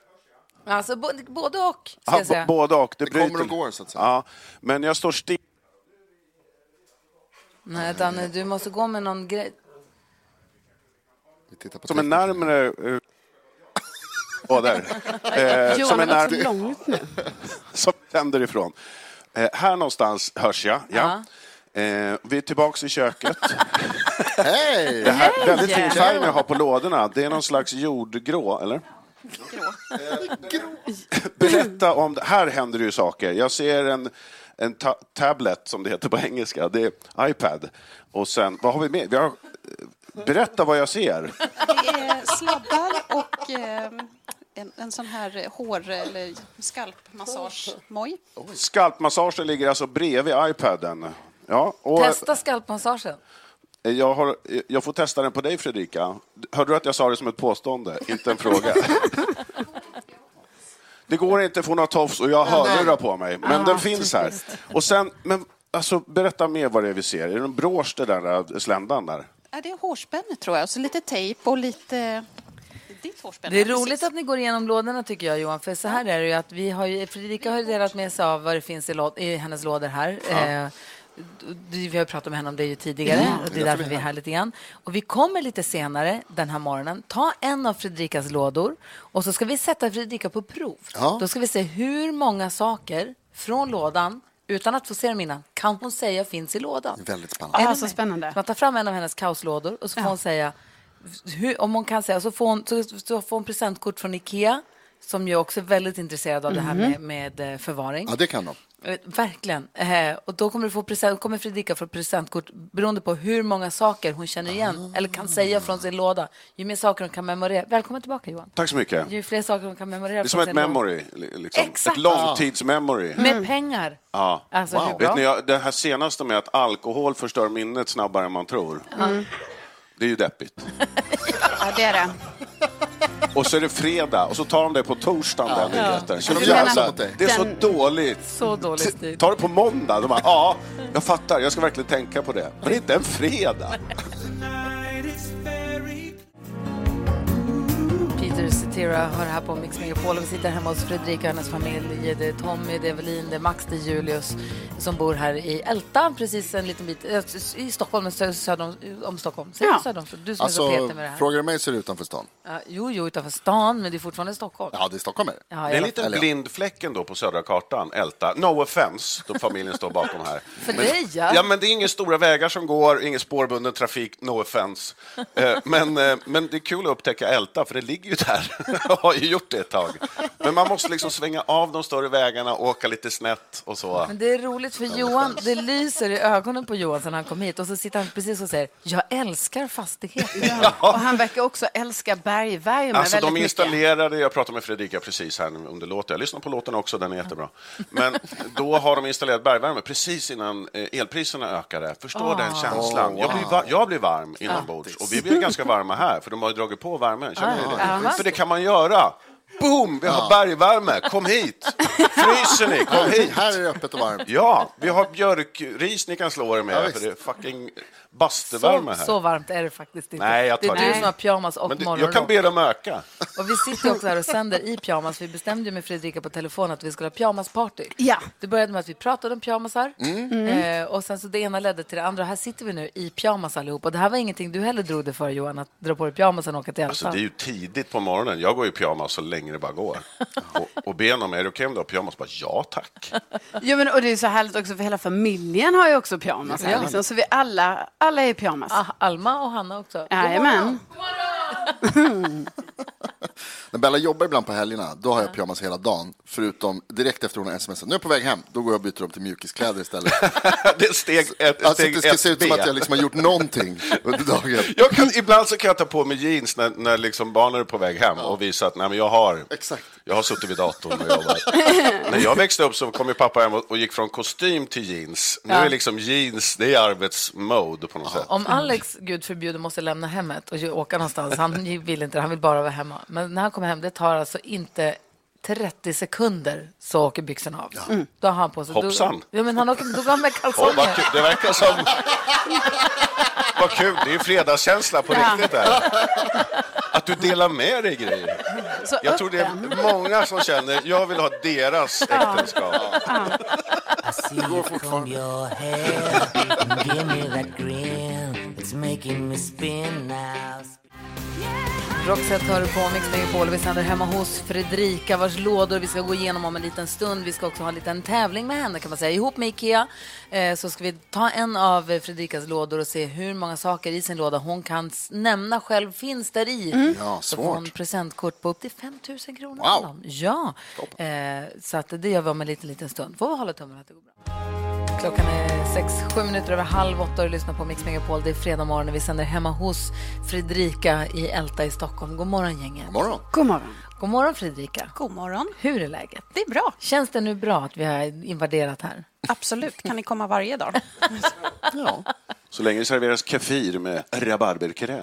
Speaker 1: Alltså, bo, både och, ska jag
Speaker 11: b-
Speaker 1: säga.
Speaker 11: både och. Det,
Speaker 2: kommer och går, så att
Speaker 11: säga. Ja, men jag står still.
Speaker 1: Nej, Danne, du måste gå med någon grej.
Speaker 11: Som är närmare... eh, lådor.
Speaker 14: Johan
Speaker 11: Eh, som är
Speaker 14: har gått
Speaker 11: närmare-
Speaker 14: så långt nu.
Speaker 11: som vänder ifrån. Eh, här någonstans hörs jag. Ja. Eh, vi är tillbaka i köket.
Speaker 2: Hej!
Speaker 11: Det här, väldigt
Speaker 14: Hej!
Speaker 11: fin färg jag har på lådorna. Det är någon slags jordgrå, eller? Berätta om det. Här händer det ju saker. Jag ser en, en ta- tablet, som det heter på engelska. Det är iPad. Och sen, vad har vi mer? Vi har, eh, berätta vad jag ser.
Speaker 7: Det är sladdar och eh, en, en sån här eh, hår eller skalpmassagemoj.
Speaker 11: Skalpmassagen ligger alltså bredvid iPaden. Ja, och
Speaker 1: Testa skalpmassagen.
Speaker 11: jag, har, jag får testa den på dig, Fredrika. Hörde du att jag sa det som ett påstående, inte en fråga? Det går inte att få några tofs och jag har hörlurar på mig, men
Speaker 13: Ah,
Speaker 11: den finns här.
Speaker 13: typiskt.
Speaker 11: Och sen, men, alltså, berätta mer vad det är vi ser. Är det en brosch, den där äh, sländan där?
Speaker 7: Ja, det är hårspänne tror jag, och så lite tejp och lite... Ditt hårspänne.
Speaker 1: Det är roligt att ni går igenom lådorna tycker jag Johan, för så här är det ju att vi har ju, Fredrika har ju delat med sig av vad det finns i, låd, i hennes lådor här.
Speaker 3: Ja.
Speaker 1: Eh, d- vi har pratat med henne om det ju tidigare
Speaker 3: Ja,
Speaker 1: och det är därför vi är här lite grann. Och vi kommer lite senare den här morgonen ta en av Fredrikas lådor och så ska vi sätta Fredrika på prov.
Speaker 3: Ja.
Speaker 1: Då ska vi se hur många saker från lådan, utan att få se dem innan, kan hon säga finns i lådan.
Speaker 2: Väldigt
Speaker 1: Är
Speaker 2: spännande.
Speaker 1: du med? Så Man tar fram en av hennes kaoslådor och så får hon säga, hur, om hon kan säga, så får hon, så, så får hon presentkort från Ikea, som ju också är väldigt intresserad av det här
Speaker 2: Mhm.
Speaker 1: med, med eh, förvaring.
Speaker 2: Ja, det kan de.
Speaker 1: Eh, Verkligen. Eh, och då kommer, du få present, kommer Fredrika få presentkort beroende på hur många saker hon känner
Speaker 11: Ah.
Speaker 1: igen eller kan säga från sin låda. Ju mer saker hon kan memorera. Välkommen tillbaka Johan.
Speaker 11: Tack så mycket.
Speaker 1: Ju fler saker hon kan memorera
Speaker 11: Det är som
Speaker 1: från
Speaker 11: ett
Speaker 1: sin
Speaker 11: memory, li- liksom.
Speaker 1: Exakt.
Speaker 11: ett långtidsmemory.
Speaker 1: låda. Med pengar.
Speaker 11: Ja.
Speaker 1: Alltså, hur bra?
Speaker 11: Vet ni, jag- det här senaste med att alkohol förstör minnet snabbare än man tror,
Speaker 7: Mm.
Speaker 11: det är ju deppigt.
Speaker 7: Ja, det är det.
Speaker 11: Och så är det fredag och så tar de det på torsdagen, den
Speaker 7: Ja.
Speaker 11: nyheten. Så
Speaker 7: Ja.
Speaker 11: de
Speaker 7: Jag menar,
Speaker 11: jävla, det är så
Speaker 7: den-
Speaker 11: dåligt.
Speaker 1: Så dålig stil.
Speaker 11: Ta det på måndag. De bara, ja, jag fattar, jag ska verkligen tänka på det. Men det är inte en fredag.
Speaker 1: Peter Cetera hör här på Mix Megapol och vi sitter hemma hos Fredrika och hennes familj. Det är Tommy, det är Evelin, det är Max, det är Julius som bor här i Älta, precis en liten bit eh, i Stockholm, men sö- söder om, om Stockholm. Säger
Speaker 2: Ja.
Speaker 1: du söder om Stockholm? Du som är så
Speaker 2: Alltså,
Speaker 1: petig med det här.
Speaker 2: frågar du mig så är det utanför stan.
Speaker 1: Ja, jo, jo, utanför stan, men det är fortfarande Stockholm.
Speaker 2: Ja, det är Stockholm är det.
Speaker 1: Ja,
Speaker 11: Det är en
Speaker 1: jag-
Speaker 11: liten
Speaker 1: eller ja.
Speaker 11: blind fläck ändå på södra kartan, Älta. No offense, då familjen står bakom här.
Speaker 1: För dig, ja.
Speaker 11: Ja, men det är inga stora vägar som går, ingen spårbunden trafik, no offense. Eh, Men, eh, men det är kul att upptäcka Älta, för det ligger ju där. Jag har ju gjort det ett tag. Men man måste liksom svänga av de större vägarna, åka lite snett och så.
Speaker 1: Men det är roligt för Johan, det lyser i ögonen på Johan sen han kom hit och så sitter han precis och säger jag älskar fastigheter.
Speaker 3: Och han verkar också älska bergvärme
Speaker 11: Alltså
Speaker 3: väldigt
Speaker 11: de
Speaker 3: mycket.
Speaker 11: installerade, jag pratade med Fredrika precis här nu under låten, jag lyssnar på låten också, den är jättebra. Men då har de installerat bergvärme precis innan eh, elpriserna ökade. Förstår
Speaker 13: Ah.
Speaker 11: den känslan?
Speaker 13: Oh,
Speaker 11: Jag blir,
Speaker 13: wow.
Speaker 11: va- jag blir varm inombords och vi blir ganska varma här för de har ju dragit på värmen. Känner ni
Speaker 13: Ah,
Speaker 11: det?
Speaker 13: ja.
Speaker 11: För det kan man göra. Boom, vi har bergvärme, kom hit! Fryser ni, kom hit!
Speaker 2: Här är det öppet och varmt.
Speaker 11: Ja, vi har björkris ni kan slå er med,
Speaker 2: Ja, visst.
Speaker 11: för det är fucking bastuvärme här.
Speaker 1: Så, så varmt är det faktiskt inte.
Speaker 11: Nej, jag tar
Speaker 1: det är
Speaker 11: det.
Speaker 1: du som har pyjamas och
Speaker 11: Men du,
Speaker 1: morgonrock.
Speaker 11: jag kan be dem öka.
Speaker 1: Och vi sitter också här och sänder i pyjamas. Vi bestämde ju med Fredrika på telefon att vi skulle ha pyjamasparty.
Speaker 3: Ja.
Speaker 1: Det började med att vi pratade om pyjamasar
Speaker 3: Mm.
Speaker 1: eh, och sen så det ena ledde till det andra. Här sitter vi nu i pyjamas allihop. Och det här var ingenting du heller drog dig för Johan, att dra på dig pyjamasen och åka till
Speaker 11: Alltså,
Speaker 1: Älvsjö.
Speaker 11: det är ju tidigt på morgonen. Jag går i pyjamas så länge det bara går. Och, och ben om, är det okej om du har pyjamas? Bara, ja tack.
Speaker 3: Jo, men, och det är så härligt också för hela familjen har ju också pyjamas. Här,
Speaker 11: Ja.
Speaker 3: liksom, så vi alla, alla är i pyjamas.
Speaker 1: Ah, Alma och Hanna också.
Speaker 3: Jajamän.
Speaker 2: När Bella jobbar ibland på helgerna, då har jag pyjamas hela dagen. Förutom direkt efter hon har smsat. Nu är jag på väg hem, då går jag och byter om till mjukiskläder istället.
Speaker 11: det är steg ett,
Speaker 2: Alltså
Speaker 11: steg
Speaker 2: det ska se ut som
Speaker 11: 1B.
Speaker 2: att jag liksom har gjort någonting under dagen.
Speaker 11: Jag kan, ibland så kan jag ta på mig jeans när, när liksom barnen är på väg hem och visa att nej, men jag, har, jag har suttit vid datorn och jobbat. när jag växte upp så kom ju pappa hem och, och gick från kostym till jeans. Nu
Speaker 1: Ja.
Speaker 11: är liksom jeans, det är arbetsmode på något sätt.
Speaker 1: Om Alex, gud förbjude, måste lämna hemmet och ju- åka någonstans, han vill inte det, han vill bara vara hemma. Men när han kommer hem, det tar alltså inte 30 sekunder så åker byxorna av.
Speaker 11: Mm.
Speaker 1: Då har han på sig...
Speaker 11: Hoppsan.
Speaker 1: Då, ja, men han åker, då går han med
Speaker 11: Åh, vad
Speaker 1: kalsonger.
Speaker 11: kul, det verkar som... Vad kul, det är ju fredagskänsla på
Speaker 1: Ja.
Speaker 11: riktigt där. Att du delar med dig grejer.
Speaker 3: Så
Speaker 11: Jag tror det
Speaker 3: öppen.
Speaker 11: är många som känner, jag vill ha deras äktenskap.
Speaker 13: see you comb your hair. Give me that grin. It's making me spin now.
Speaker 1: Roxette hör du på Mix Megapol. Vi sänder hemma hos Fredrika vars lådor vi ska gå igenom om en liten stund. Vi ska också ha en liten tävling med henne kan man säga. Ihop med Ikea eh, så ska vi ta en av eh, Fredrikas lådor och se hur många saker i sin låda hon kan s- nämna själv finns där i.
Speaker 2: Mm. Ja,
Speaker 1: Så får hon
Speaker 2: svårt.
Speaker 1: presentkort på upp till 5 000 kronor.
Speaker 2: Wow.
Speaker 1: av dem. Ja, eh, så att det gör vi om en liten, liten stund. Får vi hålla tummarna att det går bra. Klockan är sex, sju minuter över halv åtta och du lyssnar på Mix Megapol. Det är fredag morgon och vi sänder hemma hos Fredrika i Älta i Stockholm. God morgon gänget. God
Speaker 2: morgon.
Speaker 3: God morgon.
Speaker 1: God morgon Fredrika.
Speaker 7: God morgon.
Speaker 1: Hur är läget?
Speaker 7: Det är bra.
Speaker 1: Känns det nu bra att vi har invaderat här?
Speaker 7: Absolut, kan ni komma varje dag?
Speaker 11: Så länge det serveras kefir med rabarberkräm.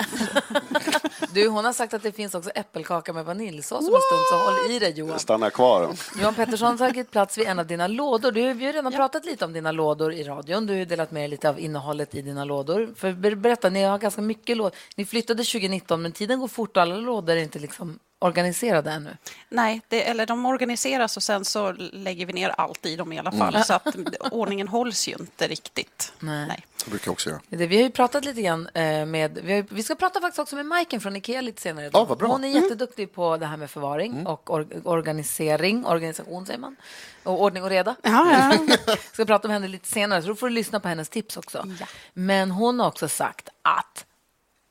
Speaker 1: Du, hon har sagt att det finns också äppelkaka med vaniljsås om en stund, så håll i dig Johan.
Speaker 11: Stanna kvar.
Speaker 1: Johan Pettersson har tagit plats vid en av dina lådor. Du, vi har redan pratat lite om dina lådor i radion. Du har ju delat med dig lite av innehållet i dina lådor. För ber- berätta, ni har ganska mycket lådor. Ni flyttade 2019, men tiden går fort och alla lådor är inte liksom organiserade ännu.
Speaker 7: Nej, det, eller de organiseras och sen så lägger vi ner allt i dem i alla fall.
Speaker 1: Mm.
Speaker 7: Så att ordningen hålls ju inte riktigt.
Speaker 1: Nej.
Speaker 2: Det brukar jag också göra.
Speaker 1: Det, vi har ju pratat lite grann eh, med, vi, har, vi ska prata faktiskt också med Majken från Ikea lite senare. idag.
Speaker 2: Ja, vad bra. Mm.
Speaker 1: Hon är jätteduktig på det här med förvaring och or, organisering, organisation säger man, och ordning och reda.
Speaker 3: Ja,
Speaker 1: ja. ska prata med henne lite senare, så då får du lyssna på hennes tips också. Men hon har också sagt att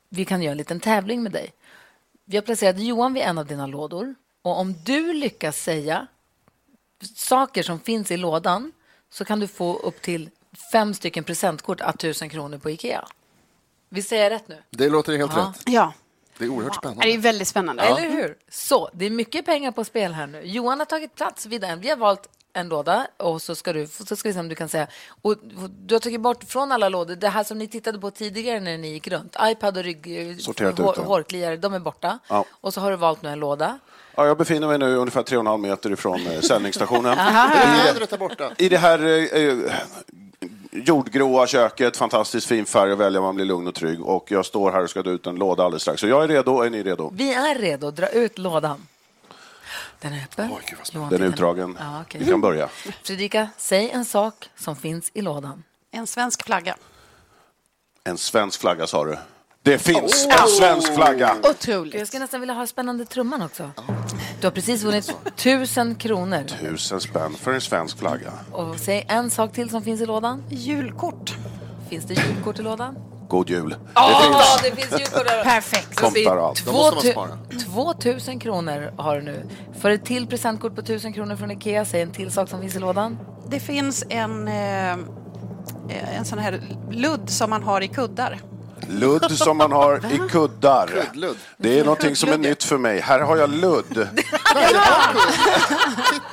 Speaker 1: vi kan göra en liten tävling med dig. Vi har placerat Johan vid en av dina lådor och om du lyckas säga saker som finns i lådan så kan du få upp till fem stycken presentkort à 1000 kronor på Ikea. Vi säger rätt nu.
Speaker 2: Det låter helt
Speaker 1: Ja.
Speaker 2: rätt.
Speaker 3: Ja.
Speaker 2: Det är oerhört spännande.
Speaker 3: Det är väldigt spännande.
Speaker 1: Eller hur? Så, det är mycket pengar på spel här nu. Johan har tagit plats vid en. Vi har valt en låda och så ska du, så ska vi se om du kan säga. Och du har tagit bort från alla lådor, det här som ni tittade på tidigare när ni gick runt. Ipad och rygg,
Speaker 11: Sorterat ut
Speaker 1: hår,
Speaker 11: dem.
Speaker 1: hårkliare, de är borta.
Speaker 11: Ja.
Speaker 1: Och så har du valt nu en låda.
Speaker 11: Ja, jag befinner mig nu ungefär 3,5 meter ifrån eh, sändningsstationen.
Speaker 2: Vädret där borta.
Speaker 11: I det här eh, eh, jordgråa köket, fantastiskt fin färg att välja, man blir lugn och trygg. Och jag står här och ska dra ut en låda alldeles strax. Så jag är redo, är ni redo?
Speaker 1: Vi är redo, dra ut lådan. Den är öppen. Johan
Speaker 11: Den är
Speaker 1: tittar-
Speaker 11: utdragen.
Speaker 1: Ja, okej.
Speaker 11: Vi kan börja.
Speaker 1: Fredrika, säg en sak som finns i lådan.
Speaker 7: En svensk flagga.
Speaker 11: En svensk flagga sa du. Det finns
Speaker 1: Oh!
Speaker 11: en svensk flagga!
Speaker 3: Otroligt.
Speaker 1: Jag skulle nästan vilja ha spännande trumman också. Du har precis vunnit tusen kronor.
Speaker 11: Tusen spänn för en svensk flagga.
Speaker 1: Och säg en sak till som finns i lådan.
Speaker 7: Julkort.
Speaker 1: Finns det julkort i lådan?
Speaker 11: God jul.
Speaker 1: Ja, det finns julkort där.
Speaker 3: Perfekt.
Speaker 1: Då
Speaker 11: Tomtar och allt.
Speaker 1: säger
Speaker 11: Då måste man
Speaker 1: tvåtu-
Speaker 11: spara.
Speaker 1: 2000 kronor har du nu. För ett till presentkort på 1000 kronor från Ikea. Säg en till sak som finns i lådan.
Speaker 7: Det finns en, eh, en sån här ludd som man har i kuddar.
Speaker 11: Ludd som man har i kuddar. Det är någonting som är nytt för mig. Här har jag ludd.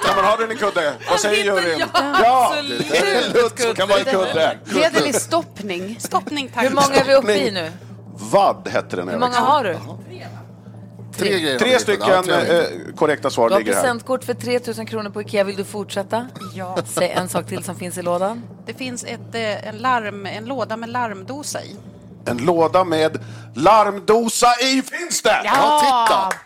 Speaker 11: Kan man ha den i kudde? Vad säger juryn? Ja, det är ludd som kan vara i kudde.
Speaker 3: Hederlig stoppning.
Speaker 7: Stoppning,
Speaker 1: Hur många är vi uppe i nu?
Speaker 11: Vad hette den? här
Speaker 1: Hur många
Speaker 11: veckan?
Speaker 1: har du?
Speaker 11: Tre,
Speaker 1: grejer.
Speaker 11: Tre stycken eh, korrekta svar
Speaker 1: Du har
Speaker 11: ligger här.
Speaker 1: presentkort för 3000 kronor på Ikea. Vill du fortsätta?
Speaker 7: Ja.
Speaker 1: Säg en sak till som finns i lådan.
Speaker 7: Det finns ett, eh, en, larm, en låda med larmdosa i.
Speaker 12: En låda med larmdosa i finns det!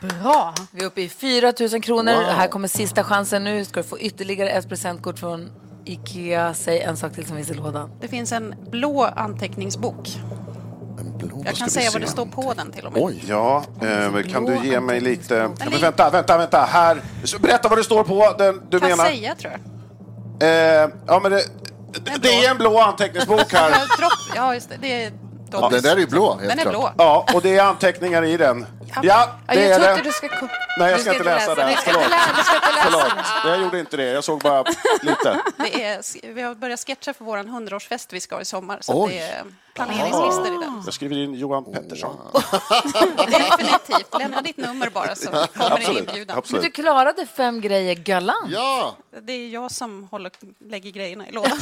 Speaker 1: bra! Vi är uppe i 4 000 kronor.
Speaker 12: Wow.
Speaker 1: Här kommer sista chansen nu. Ska du få ytterligare ett presentkort från Ikea. Säg en sak till som finns i lådan.
Speaker 7: Det finns en blå anteckningsbok. Jag
Speaker 12: ska
Speaker 7: kan
Speaker 12: vi
Speaker 7: säga vad
Speaker 12: se.
Speaker 7: det står på den till och med.
Speaker 12: Oj. Ja, eh, kan du ge mig lite... Ja, men vänta, vänta, vänta. Här. Så Berätta vad det står på den du
Speaker 7: kan
Speaker 12: menar.
Speaker 7: säga tror jag.
Speaker 12: Eh, ja, men det, det är en blå anteckningsbok här.
Speaker 7: Dropp, ja, just det. det är
Speaker 12: Ja, den där är ju blå.
Speaker 7: helt Den är klart. blå.
Speaker 12: Ja, och det är anteckningar i den. Ja, det
Speaker 3: jag
Speaker 12: är
Speaker 3: tror
Speaker 12: det.
Speaker 3: inte du ska... ko-
Speaker 12: Nej, jag
Speaker 3: du
Speaker 12: ska inte läsa den.
Speaker 3: Du ska
Speaker 12: Förlåt.
Speaker 3: inte läsa, du ska inte läsa
Speaker 12: Förlåt,
Speaker 3: den.
Speaker 12: jag gjorde inte det. Jag såg bara lite.
Speaker 7: Det är, vi har börjat sketcha för vår hundraårsfest vi ska ha i sommar.
Speaker 12: Oj.
Speaker 7: Så
Speaker 12: Ah.
Speaker 7: det är planeringslistor i den.
Speaker 12: Jag skriver in Johan Pettersson.
Speaker 7: Definitivt. Lämna ditt nummer bara så kommer
Speaker 12: Absolut,
Speaker 7: en inbjudan.
Speaker 12: absolut. Men du
Speaker 1: klarade fem grejer galant.
Speaker 2: Ja.
Speaker 7: Det är jag som håller, lägger grejerna i lådan.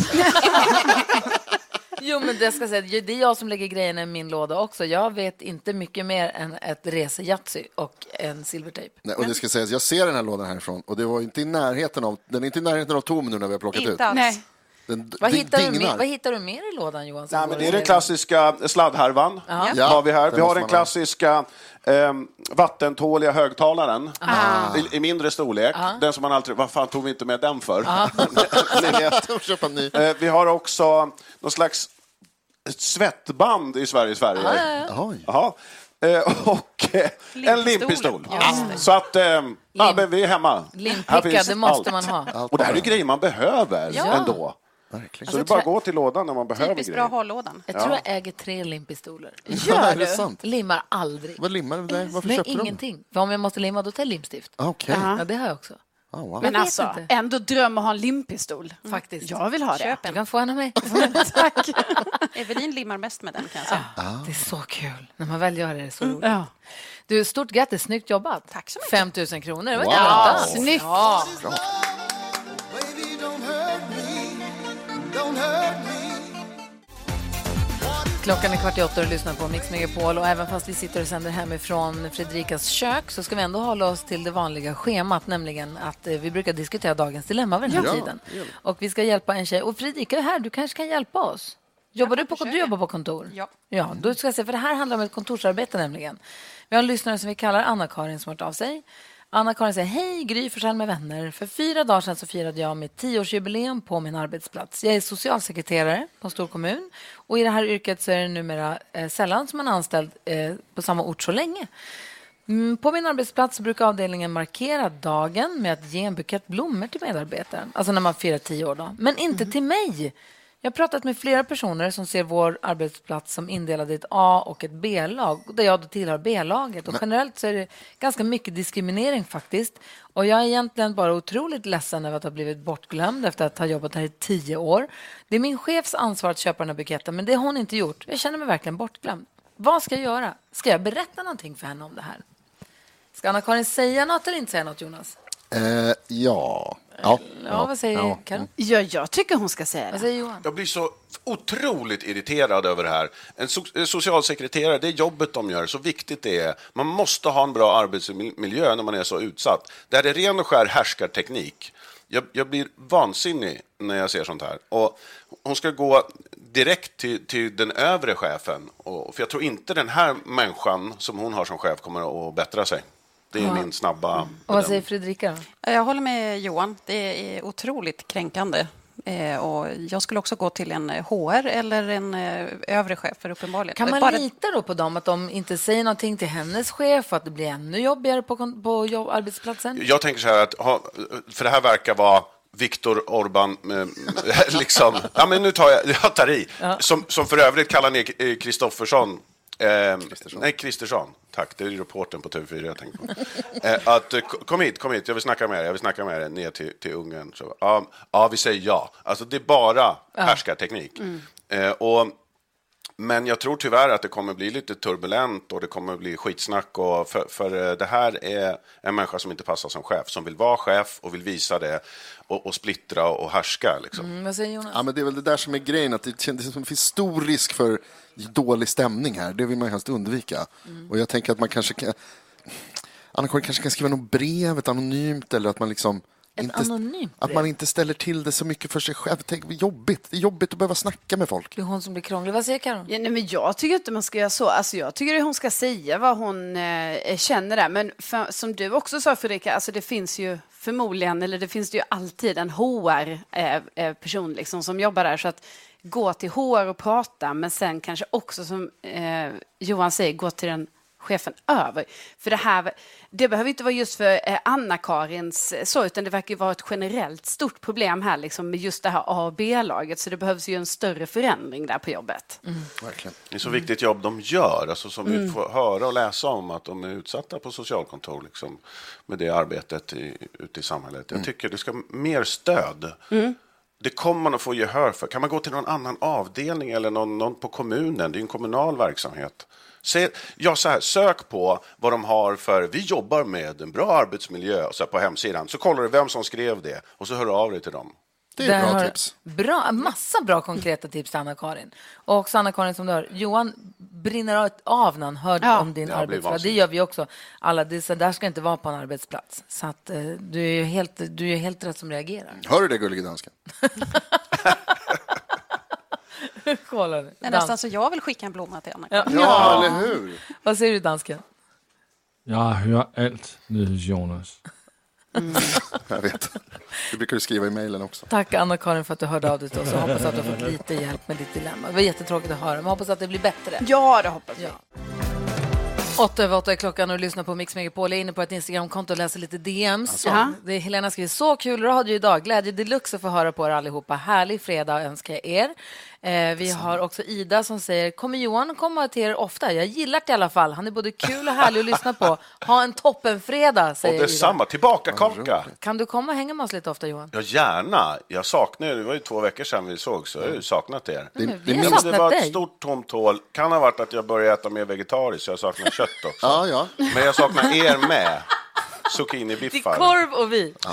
Speaker 1: Jo, men det ska jag säga. Det är jag som lägger grejerna i min låda också. Jag vet inte mycket mer än ett resejatsi och en silvertejp.
Speaker 2: Nej, och det ska sägas, jag ser den här lådan härifrån och det var inte i närheten av, den är inte i närheten av tom nu när vi har plockat ut.
Speaker 1: Inte alls. Nej.
Speaker 2: Den d-
Speaker 1: Vad
Speaker 2: d-
Speaker 1: hittar, du,
Speaker 2: dignar.
Speaker 1: mer- vad hittar du mer i lådan, Johan? som
Speaker 12: Nej, men
Speaker 1: går
Speaker 12: det
Speaker 1: i
Speaker 12: är den
Speaker 1: lådan?
Speaker 12: klassiska sladdhärvan.
Speaker 1: Ja.
Speaker 12: Ja, har vi, här.
Speaker 1: det
Speaker 12: vi har
Speaker 1: måste
Speaker 12: den
Speaker 1: man ha.
Speaker 12: klassiska eh, vattentåliga högtalaren
Speaker 2: Ah.
Speaker 12: I, i mindre storlek.
Speaker 1: Ah.
Speaker 12: Den som man alltid, vad fan tog vi inte med den för?
Speaker 2: Ah.
Speaker 12: Ni vet. Eh, vi har också någon slags ett svettband i Sveriges färger.
Speaker 2: Ah, ja,
Speaker 12: Jaha. Eh, och eh, en limpistol. Så att eh, ja, men vi är hemma.
Speaker 1: Limpicka,
Speaker 12: Här finns
Speaker 1: det måste
Speaker 12: allt.
Speaker 1: man ha.
Speaker 12: Och det här är grejer man behöver
Speaker 1: Ja. Alltså,
Speaker 12: ändå. Så det är bara att gå till lådan när man behöver
Speaker 1: Typiskt
Speaker 12: grejer.
Speaker 1: bra
Speaker 7: ha-lådan.
Speaker 1: Jag
Speaker 12: Ja.
Speaker 1: tror jag äger tre limpistoler.
Speaker 2: Ja, är det sant?
Speaker 1: Limmar aldrig.
Speaker 2: Vad limmar du där? Varför
Speaker 1: Nej,
Speaker 2: köpte du dem?
Speaker 1: ingenting. För om jag måste limma, då tar jag limstift.
Speaker 2: Ah, okej.
Speaker 1: Ja, det har jag också.
Speaker 2: Ah, wow.
Speaker 3: Men
Speaker 1: Jag vet
Speaker 3: alltså,
Speaker 1: inte.
Speaker 3: ändå dröm att ha en limpistol.
Speaker 7: Mm.
Speaker 1: Faktiskt.
Speaker 3: Jag vill ha det.
Speaker 1: Du kan få en av mig.
Speaker 7: Tack. Evelin limmar mest med den kan jag säga.
Speaker 1: Det är så kul. När man väl gör det, det är så roligt.
Speaker 3: Ja.
Speaker 1: Du, stort grattis. Snyggt jobbat. Tack så mycket. 5 000 kronor. Det var inte
Speaker 3: Wow.
Speaker 1: väntat.
Speaker 3: Snyggt.
Speaker 1: Ja. Klockan är kvart i åtta och du lyssnar på Mix Megapol och även fast vi sitter och sänder hemifrån Fredrikas kök så ska vi ändå hålla oss till det vanliga schemat, nämligen att eh, vi brukar diskutera dagens dilemma vid den här
Speaker 3: Ja.
Speaker 1: tiden.
Speaker 3: Ja, det gör vi.
Speaker 1: Och vi ska hjälpa en tjej. Och Fredrika är här, du kanske kan hjälpa oss? Jobbar du, på, du jobbar på kontor?
Speaker 7: Ja.
Speaker 1: Ja, då ska jag se, för det här handlar om ett kontorsarbete nämligen. Vi har en lyssnare som vi kallar Anna-Karin som har hört av sig. Anna-Karin säger, hej Gry Forssell med vänner. För fyra dagar sedan så firade jag mitt tioårsjubileum på min arbetsplats. Jag är socialsekreterare på en stor kommun och i det här yrket så är det numera eh, sällan som man är anställd eh, på samma ort så länge. Mm, På min arbetsplats brukar avdelningen markera dagen med att ge en bukett blommor till medarbetaren. Alltså när man firar tio år då. Men inte till mig. Jag har pratat med flera personer som ser vår arbetsplats som indelad i ett A och ett B-lag, där jag då tillhör B-laget. Och generellt så är det ganska mycket diskriminering faktiskt. Och jag är egentligen bara otroligt ledsen över att ha blivit bortglömd efter att ha jobbat här i tio år. Det är min chefs ansvar att köpa den här buketten, men det har hon inte gjort. Jag känner mig verkligen bortglömd. Vad ska jag göra? Ska jag berätta någonting för henne om det här? Ska Anna-Karin säga något eller inte säga något, Jonas?
Speaker 2: Eh, ja. Ja,
Speaker 1: Ja, vad säger
Speaker 2: ja.
Speaker 1: Karin?
Speaker 3: Ja, jag tycker hon ska säga det.
Speaker 1: Vad säger Johan?
Speaker 11: Jag blir så otroligt irriterad över det här. En so eh, socialsekreterare, det är jobbet de gör, så viktigt det är. Man måste ha en bra arbetsmiljö när man är så utsatt. Det här är ren och skär härskarteknik. Jag, jag blir vansinnig när jag ser sånt här. Och hon ska gå direkt till, till den övre chefen. Och, för jag tror inte den här människan som hon har som chef kommer att bättra sig. Det är
Speaker 7: Ja.
Speaker 11: min snabba...
Speaker 1: Och vad säger Fredrika? då?
Speaker 7: Jag håller med Johan. Det är otroligt kränkande. Eh, och jag skulle också gå till en HR eller en eh, övre chef för uppenbarligen.
Speaker 1: Kan man
Speaker 7: Bara-
Speaker 1: lita då på dem, att de inte säger någonting till hennes chef och att det blir ännu jobbigare på, kon- på jobb, arbetsplatsen?
Speaker 11: Jag tänker så här att, ha- för det här verkar vara Viktor Orban, eh, liksom, ja men nu tar jag, jag tar i, som, som för övrigt kallar ner Kristoffersson, eh, nej Kristersson, tack, det är reportern på TV4 jag tänker på. Eh, att, eh, k- kom hit, kom hit, jag vill snacka med er, jag vill snacka med er, ner till, till Ungern. Så, ja, ja, vi säger ja. Alltså det är bara härskarteknik. Eh, och, men jag tror tyvärr att det kommer bli lite turbulent och det kommer bli skitsnack. Och för, för eh, det här är en människa som inte passar som chef, som vill vara chef och vill visa det och, och splittra och härska. Liksom.
Speaker 1: Mm, vad säger Jonas?
Speaker 2: Ja, men det är väl det där som är grejen, att det känns som det finns stor risk för dålig stämning här. Det vill man ju helst undvika.
Speaker 1: Mm.
Speaker 2: Och jag tänker att man kanske kan... Anna-Karin kanske kan skriva något brev, ett anonymt, eller att man liksom inte,
Speaker 1: anonymt
Speaker 2: Att
Speaker 1: brev.
Speaker 2: man inte ställer till det så mycket för sig själv. Tänk vad jobbigt. Det är jobbigt att behöva snacka med folk.
Speaker 1: Det är hon som blir krånglig. Vad säger Karin?
Speaker 3: Ja, nej, men jag tycker inte man ska göra så. Alltså, jag tycker att hon ska säga vad hon eh, känner där. Men för, som du också sa Fredrika, alltså, det finns ju förmodligen, eller det finns det ju alltid en HR-person liksom, som jobbar där. Så att gå till HR och prata, men sen kanske också som eh, Johan säger, gå till den chefen över. För det här, det behöver inte vara just för eh, Anna-Karins eh, så, utan det verkar ju vara ett generellt stort problem här liksom med just det här A och B-laget, så det behövs ju en större förändring där på jobbet.
Speaker 2: Verkligen.
Speaker 11: Det är så viktigt jobb de gör, alltså som vi
Speaker 3: Mm.
Speaker 11: får höra och läsa om, att de är utsatta på socialkontor liksom, med det arbetet i, ute i samhället. Jag tycker det ska mer stöd.
Speaker 1: Mm.
Speaker 11: Det kommer man att få gehör för. Kan man gå till någon annan avdelning eller någon, någon på kommunen? Det är ju en kommunal verksamhet. Se, ja, så här, sök på vad de har för... Vi jobbar med en bra arbetsmiljö så här, på hemsidan. Så kollar du vem som skrev det och så hör du av dig till dem.
Speaker 1: Där har- Bra, massa bra konkreta tips till Anna-Karin. Och också Anna-Karin som du hör, Johan brinner av när han hör om din
Speaker 3: Jag blir
Speaker 1: arbetsplats. Det
Speaker 3: vansinnig.
Speaker 1: gör vi också. Alla, det, så där ska inte vara på en arbetsplats. Så att, eh, du är ju helt, du är ju helt rätt som reagerar.
Speaker 2: Hör du det, gullige dansken?
Speaker 1: Kolla nu.
Speaker 7: Det är
Speaker 1: Dans.
Speaker 7: nästan så jag vill skicka en blomma till Anna.
Speaker 2: hur?
Speaker 1: Vad säger du dansken?
Speaker 5: Jag hör allt, Nyhets Jonas.
Speaker 2: Jag vet. Det brukar du skriva i mejlen också.
Speaker 1: Tack Anna-Karin för att du hörde av dig till oss och hoppas att du har fått lite hjälp med ditt dilemma. Det var jättetråkigt att höra, men hoppas att det blir bättre.
Speaker 3: Ja, det hoppas
Speaker 1: jag. Åtta över åtta är klockan och du lyssnar på Mix Megapol. Jag är inne på ett Instagramkonto och läser lite DMs.
Speaker 3: Alltså.
Speaker 1: Ja. Det är Helena skriver, så kul radio idag. Glädje deluxe att få höra på er allihopa. Härlig fredag önskar jag er. Eh, vi har också Ida som säger, kommer Johan komma till er ofta? Jag gillar det i alla fall. Han är både kul och härlig att lyssna på. Ha en toppenfredag,
Speaker 11: Och
Speaker 1: säger Ida.
Speaker 11: detsamma, tillbaka kaka!
Speaker 1: Kan du komma och hänga med oss lite ofta, Johan?
Speaker 11: Ja, gärna. Jag saknar er. Det var ju två veckor sedan vi såg, så jag har ju saknat er.
Speaker 1: Det- men vi
Speaker 11: Ja,
Speaker 1: har
Speaker 11: men
Speaker 1: Mm. saknat
Speaker 11: det var
Speaker 1: dig.
Speaker 11: ett stort tomt hål. Kan ha varit att jag började äta mer vegetariskt, så jag saknar kött också.
Speaker 2: Ja, ja.
Speaker 11: Men jag saknar er med. Zucchinibiffar.
Speaker 1: Korv och vi.
Speaker 11: Ja.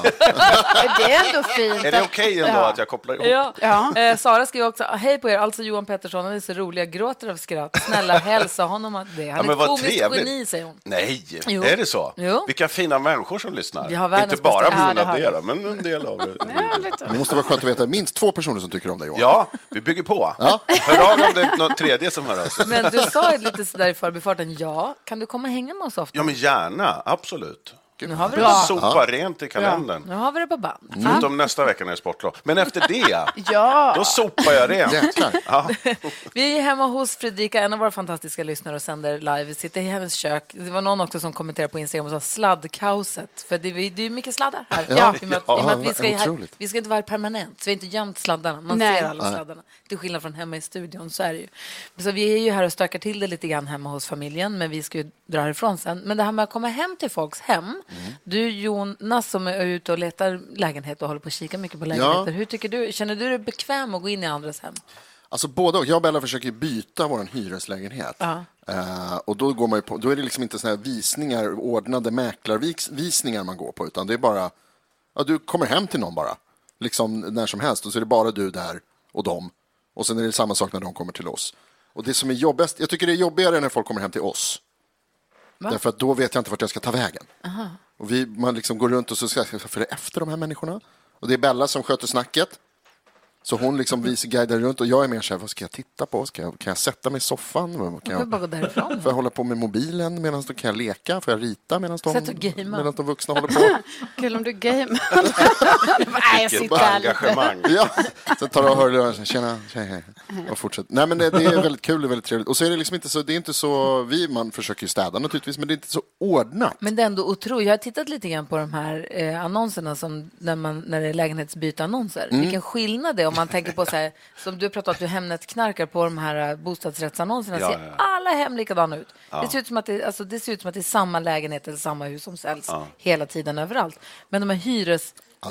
Speaker 1: det är ändå fint.
Speaker 11: Är det okej ändå att jag kopplar ihop?
Speaker 1: Ja. Eh, Sara skriver också, hej på er, alltså Johan Pettersson, han är så rolig, jag gråter av skratt. Snälla hälsa honom att det.
Speaker 11: Ja,
Speaker 1: Han
Speaker 11: men
Speaker 1: är ett
Speaker 11: vad
Speaker 1: komiskt
Speaker 11: trevligt.
Speaker 1: geni, säger hon.
Speaker 11: Nej,
Speaker 1: Jo.
Speaker 11: är det så?
Speaker 1: Jo.
Speaker 11: Vilka fina människor som lyssnar.
Speaker 1: Vi har världens
Speaker 11: Inte bara
Speaker 1: bästa- Ja,
Speaker 11: mina
Speaker 1: det har vi.
Speaker 11: delar, men en del av er.
Speaker 2: Det
Speaker 7: Mm.
Speaker 2: måste vara skönt att veta minst två personer som tycker om dig, Johan.
Speaker 11: Ja, vi bygger på.
Speaker 2: Ja.
Speaker 11: Hör av om det är någon tredje som hör av sig.
Speaker 1: Men du sa ju lite sådär i förbifarten, ja, kan du komma och hänga med oss ofta?
Speaker 11: Ja, men gärna. Absolut.
Speaker 1: Nu har vi det
Speaker 11: Bra.
Speaker 1: på
Speaker 11: Sopa
Speaker 1: band.
Speaker 11: rent i kalendern.
Speaker 1: Nu har vi det på band.
Speaker 11: Förutom nästa vecka när det är sportlov. Men efter det,
Speaker 3: Mm. Ja.
Speaker 11: då sopar jag rent.
Speaker 1: Jäklar.
Speaker 11: Ja.
Speaker 1: Vi är hemma hos Fredrika, en av våra fantastiska lyssnare och sänder live. Vi sitter i hennes kök. Det var någon också som kommenterade på Instagram och sa sladdkaoset. För det är det är ju mycket sladdar här.
Speaker 3: Ja,
Speaker 1: I och med att-
Speaker 3: ja,
Speaker 1: i och med att vi, ska ju här
Speaker 3: otroligt.
Speaker 1: vi ska inte vara här permanent, så vi har inte gömt sladdarna. Man
Speaker 3: Nej.
Speaker 1: ser alla
Speaker 3: Nej.
Speaker 1: sladdarna. Till skillnad från hemma i studion så är det ju. Så vi är ju här och stökar till det lite grann hemma hos familjen, men vi ska ju dra härifrån sen. Men det här med att komma hem till folks hem.
Speaker 3: Mm.
Speaker 1: Du Jonas som är ute och letar lägenhet och håller på att kika mycket på lägenheter. Hur tycker du? Känner du dig bekväm att gå in i andras hem?
Speaker 2: Alltså både och. Jag och Bella försöker byta vår hyreslägenhet.
Speaker 1: Ja.
Speaker 2: Eh, och då, går man ju på, då är det liksom inte såna här visningar, ordnade mäklarvisningar man går på, utan det är bara... Ja, du kommer hem till någon bara, liksom när som helst, och så är det bara du där och dem. Och sen är det samma sak när de kommer till oss. Och det som är jobbigast, jag tycker det är jobbigare när folk kommer hem till oss.
Speaker 1: Va?
Speaker 2: Därför att då vet jag inte vart jag ska ta vägen.
Speaker 1: Aha.
Speaker 2: Och vi, man liksom går runt och så ska jag följa efter de här människorna. Och det är Bella som sköter snacket. Så hon liksom visar guidar runt och jag är mer så här, vad ska jag titta på? Ska jag, kan jag sätta mig i soffan? Vad Kan
Speaker 1: Jag vill bara gå
Speaker 2: jag,
Speaker 1: därifrån.
Speaker 2: får jag hålla på med mobilen medan de kan jag leka? Får jag rita medan de,
Speaker 3: Sätt och gamea.
Speaker 2: medan de vuxna håller på?
Speaker 3: Kul om du game. Nej, jag sitter här lite.
Speaker 2: Ja, sen tar du och hör och tjena, tjena, tjena. och fortsätter. Nej, men det det är väldigt kul och väldigt trevligt. Och så är det liksom inte så, det är inte så, vi, man försöker ju städa naturligtvis, men det är inte så ordnat.
Speaker 1: Men det är ändå otroligt. Jag har tittat lite grann på de här eh, annonserna som när, man, när det är lägenhetsbyteannonser.
Speaker 3: Mm.
Speaker 1: Vilken skillnad det är om man tänker på så här, som du pratade om att du Hemnet-knarkar på de här eh, bostadsrättsannonserna.
Speaker 3: Ja,
Speaker 1: ser
Speaker 3: ja, ja.
Speaker 1: alla hem likadana ut.
Speaker 3: Ja.
Speaker 1: Det, ser ut som att det, alltså, det ser ut som att det är samma lägenhet eller samma hus som säljs
Speaker 3: Ja.
Speaker 1: hela tiden överallt. Men de här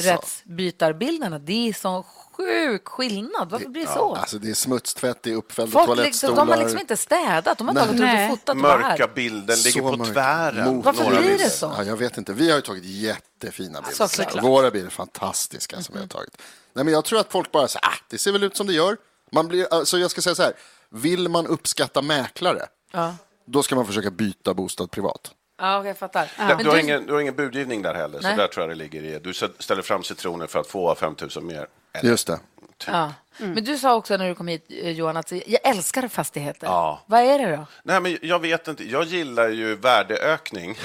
Speaker 1: hyresrättsbytarbilderna, det är sån sjuk skillnad. Varför blir det så?
Speaker 2: Alltså det är smutstvätt, det är uppfällda
Speaker 1: Folk liksom,
Speaker 2: toalettstolar.
Speaker 1: de har liksom inte städat, de har
Speaker 2: Nej.
Speaker 1: tagit ut och fotat och bara här.
Speaker 11: Mörka bilder, ligger
Speaker 2: Så
Speaker 11: på
Speaker 2: mörkt.
Speaker 11: tvären.
Speaker 2: Mot
Speaker 1: Varför
Speaker 2: några
Speaker 1: blir det
Speaker 2: bilder.
Speaker 1: så?
Speaker 2: Ja, jag vet inte. Vi har ju tagit jättefina bilder.
Speaker 1: Såklart.
Speaker 2: Våra bilder är fantastiska som vi har tagit. Nej, men jag tror att folk bara säger, ah, det ser väl ut som det gör. Man blir, alltså jag ska säga så här, vill man uppskatta mäklare,
Speaker 1: Ja.
Speaker 2: då ska man försöka byta bostad privat.
Speaker 1: Ja, jag fattar.
Speaker 11: Där-
Speaker 1: Men
Speaker 11: Du, har
Speaker 1: du-
Speaker 11: ingen, du har ingen budgivning där heller,
Speaker 1: Nej.
Speaker 11: så där tror jag det ligger i. Du s- ställer fram citroner för att få 5 000 mer.
Speaker 2: Just det.
Speaker 1: Ja.
Speaker 11: Mm.
Speaker 1: Men du sa också när du kom hit, eh, Johan, att jag älskar fastigheter.
Speaker 11: Ja.
Speaker 1: Vad är det då?
Speaker 11: Nej, men jag vet inte. Jag gillar ju värdeökning.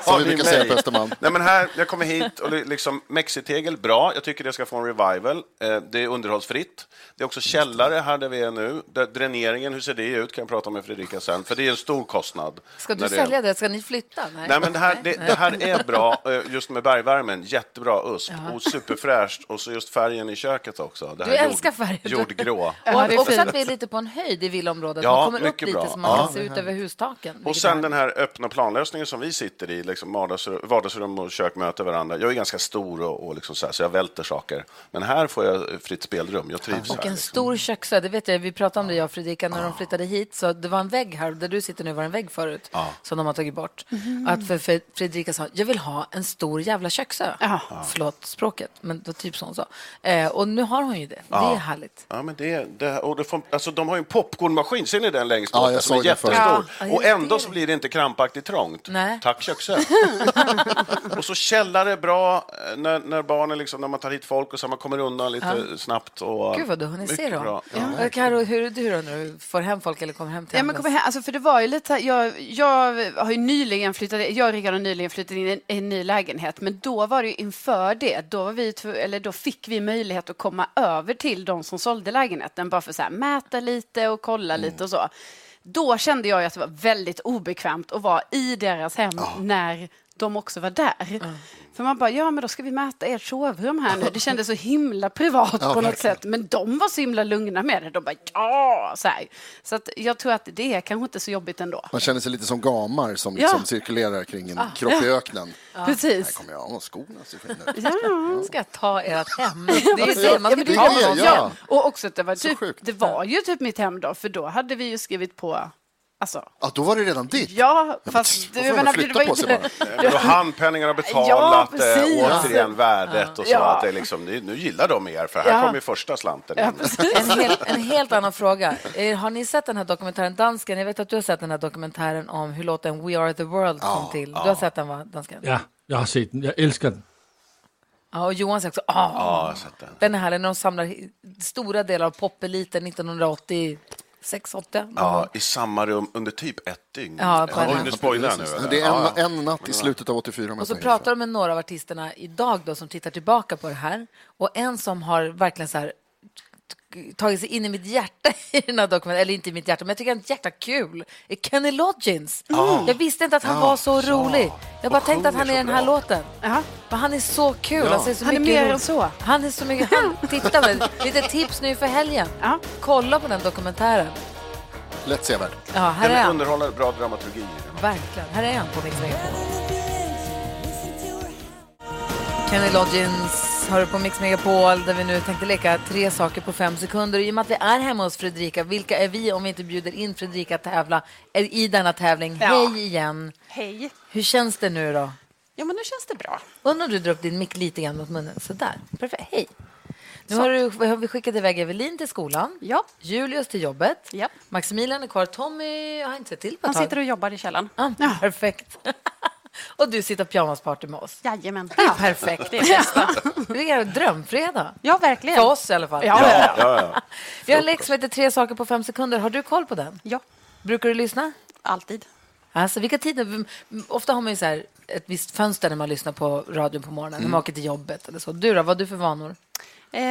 Speaker 2: Som vi brukar säga på Östermalm.
Speaker 11: Nej, men här, jag kommer hit och li- liksom mexitegel, bra. Jag tycker det ska få en revival. Eh, Det är underhållsfritt. Det är också källare här där vi är nu. Där- Dräneringen, hur ser det ut? Kan jag prata med Fredrika sen, för det är en stor kostnad.
Speaker 1: Ska du
Speaker 11: när det-
Speaker 1: sälja det? Ska ni flytta?
Speaker 11: Nej, men det här, det,
Speaker 1: Nej.
Speaker 11: det här är bra, eh, just med bergvärmen, jättebra USP
Speaker 1: Ja.
Speaker 11: och superfräscht och så just färgen i köket också. Det
Speaker 1: Du
Speaker 11: här jord-
Speaker 1: älskar färgen.
Speaker 11: Jordgrå.
Speaker 1: Och också att vi är lite på en höjd i villaområdet.
Speaker 11: Ja,
Speaker 1: man kommer upp
Speaker 11: mycket
Speaker 1: lite
Speaker 11: bra.
Speaker 1: så man kan
Speaker 11: Ja.
Speaker 1: se ut över hustaken.
Speaker 11: Och
Speaker 1: vilket
Speaker 11: sen
Speaker 1: är-
Speaker 11: den här öppna planlösningen som vi sitter i, liksom vardagsru- vardagsrum och kök möter varandra. Jag är ganska stor och, och liksom så, här, så jag välter saker. Men här får jag eh, fritt spelrum, jag trivs
Speaker 1: Och
Speaker 11: här.
Speaker 1: en
Speaker 11: liksom.
Speaker 1: stor köksö, det vet jag, vi pratade om det jag och Fredrika när de flyttade hit, så det var en vägg här, där du sitter nu var en vägg förut, som de har tagit bort.
Speaker 3: Mhm.
Speaker 1: Att för, för Fredrika sa, jag vill ha en stor jävla köksö. Förlåt språket, men det var typ så hon sa. Eh, och nu har hon ju det, det
Speaker 11: Ja.
Speaker 1: är härligt.
Speaker 11: Ja, men det, det, och det får, alltså, de har ju en popcornmaskin, ser ni den längst
Speaker 2: Ja,
Speaker 11: bort?
Speaker 2: jag
Speaker 11: som är
Speaker 2: såg den förut.
Speaker 11: jättestor.
Speaker 1: Ja,
Speaker 11: och
Speaker 1: det är
Speaker 11: ändå så blir det inte krampaktigt trångt.
Speaker 1: Nej.
Speaker 11: Tack köksö. och så källare bra eh, när, när barnen, liksom, när man tar hit folk och så man kommer undan lite
Speaker 1: Ja.
Speaker 11: snabbt. Och,
Speaker 1: Gud vad du hunnit se
Speaker 11: mycket
Speaker 1: dem.
Speaker 11: bra. Ja.
Speaker 1: Ja. Karo, hur är du då när du får hem folk eller kommer hem till
Speaker 3: Ja, men
Speaker 1: hemmet?
Speaker 3: kommer hem, alltså, för det var ju lite, så här- jag, jag har ju nyligen flyttat, jag och Rickard har nyligen flyttat in i en, en ny lägenhet, men då var det ju inför det, då, var vi, tv- eller då fick vi möjlighet att komma över till de som sålde lägenheten, bara för att så här, mäta lite och kolla
Speaker 9: Mm.
Speaker 3: lite och så. Då kände jag ju att det var väldigt obekvämt att vara i deras hem när de också var där. För man bara, ja men då ska vi mäta ert sovrum här nu. Det kändes så himla privat
Speaker 9: Ja,
Speaker 3: på något
Speaker 9: verkligen.
Speaker 3: sätt. Men de var så himla lugna med det. De bara, ja! Så, här. så att jag tror att det är kanske inte så jobbigt ändå.
Speaker 2: Man känner sig lite som gamar som liksom
Speaker 3: Ja.
Speaker 2: cirkulerar kring en
Speaker 3: Ah.
Speaker 2: kropp i
Speaker 3: Ja.
Speaker 2: öknen.
Speaker 3: Ja. Precis.
Speaker 2: Här kommer jag av skorna. så skiner det.
Speaker 1: Ja. Ska jag ta ert hem? Det är ju det, man
Speaker 3: Alltså, Ja,
Speaker 1: ska
Speaker 3: men det
Speaker 1: ta
Speaker 3: är
Speaker 1: någon.
Speaker 3: det, ja. Och också att det var, typ, det var ju typ mitt hem då, för då hade vi ju skrivit på, alltså,
Speaker 2: Ja, då var det redan ditt.
Speaker 3: ja, fast...
Speaker 2: vad
Speaker 3: du
Speaker 2: fan,
Speaker 3: menar,
Speaker 2: flytta
Speaker 3: det var
Speaker 2: på sig
Speaker 3: inte...
Speaker 11: Nej, Men då handpenningarna betalat,
Speaker 3: Ja,
Speaker 11: eh,
Speaker 3: precis.
Speaker 11: återigen värdet och så.
Speaker 3: Ja.
Speaker 11: Att det är liksom, det- nu gillar de er, för här
Speaker 1: Ja.
Speaker 11: kommer ju första slanten in.
Speaker 1: En, hel, en helt annan fråga. Eh, Har ni sett den här dokumentären Dansken? Jag vet att du har sett den här dokumentären om hur låten We Are The World kom till. Du har sett den, va? Dansken?
Speaker 5: Ja, jag har sett den. Jag älskar den.
Speaker 1: Ja, och Johan säger också åh,
Speaker 5: Ja, jag har sett den.
Speaker 1: är härlig när de samlar hi- stora delar av popeliten 1986, 80.
Speaker 11: Ja, i samma rum under typ ett dygn.
Speaker 1: Ja, på en
Speaker 11: Oj,
Speaker 1: natt.
Speaker 11: nu spoilar jag nu.
Speaker 2: Precis. Det är en, en natt i slutet av 84. om jag
Speaker 1: Och så
Speaker 2: säger
Speaker 1: pratar de med några av artisterna idag då som tittar tillbaka på det här. Och en som har verkligen så här t- tagit sig in i mitt hjärta i den här dokumenten, eller inte i mitt hjärta, men jag tycker att hjärta kul, är Kenny Loggins.
Speaker 3: Ja.
Speaker 1: Jag visste inte att han
Speaker 3: Ja,
Speaker 1: var så rolig. Jag bara
Speaker 3: Och
Speaker 1: tänkte att han är
Speaker 3: sjunger
Speaker 1: i
Speaker 3: så
Speaker 1: den här
Speaker 3: bra.
Speaker 1: låten. Men han är så kul.
Speaker 3: Ja.
Speaker 1: Alltså, det är så
Speaker 3: Han är
Speaker 1: mycket
Speaker 3: mer
Speaker 1: ro-
Speaker 3: än så.
Speaker 1: Han är så mycket, han, titta med, lite tips nu för helgen. Kolla på den dokumentären.
Speaker 2: det. Lätt sevärd.
Speaker 1: Ja, här är
Speaker 11: Den
Speaker 1: han.
Speaker 11: underhåller bra dramaturgi.
Speaker 1: Verkligen. Här är han på Mix Megapol. Kenny Loggins hör du på Mix Megapol där vi nu tänkte leka tre saker på fem sekunder. Och I och med att vi är hemma hos Fredrika, vilka är vi om vi inte bjuder in Fredrika att tävla är- i denna tävling?
Speaker 7: Ja.
Speaker 1: Hej igen!
Speaker 7: Hej.
Speaker 1: Hur känns det nu då?
Speaker 7: Ja, men nu känns det bra.
Speaker 1: Undrar om du drar upp din mick lite grann mot munnen. Sådär, perfekt. Hej! Nu har, du, har vi skickat iväg Evelin till skolan.
Speaker 7: Ja.
Speaker 1: Julius till jobbet. Ja. Maximilian är kvar. Tommy har jag inte sett till på
Speaker 7: Han
Speaker 1: ett tag.
Speaker 7: sitter och jobbar i källaren.
Speaker 1: Ah, Perfekt. och du sitter pyjamasparty med oss.
Speaker 7: Jajamän.
Speaker 1: Det är perfekt.
Speaker 7: Det är det bästa.
Speaker 1: det är en drömfredag.
Speaker 7: Ja, verkligen.
Speaker 1: För oss i alla fall.
Speaker 7: Ja, ja,
Speaker 1: Vi har en lek som heter Tre saker på fem sekunder. Har du koll på den?
Speaker 7: Ja.
Speaker 1: Brukar du lyssna?
Speaker 7: Alltid.
Speaker 1: Alltså, vilka tider? Ofta har man ju så här ett visst fönster när man lyssnar på radion på morgonen,
Speaker 7: Mm.
Speaker 1: när man åker till jobbet eller så. Du då, vad har du för vanor?
Speaker 7: Eh,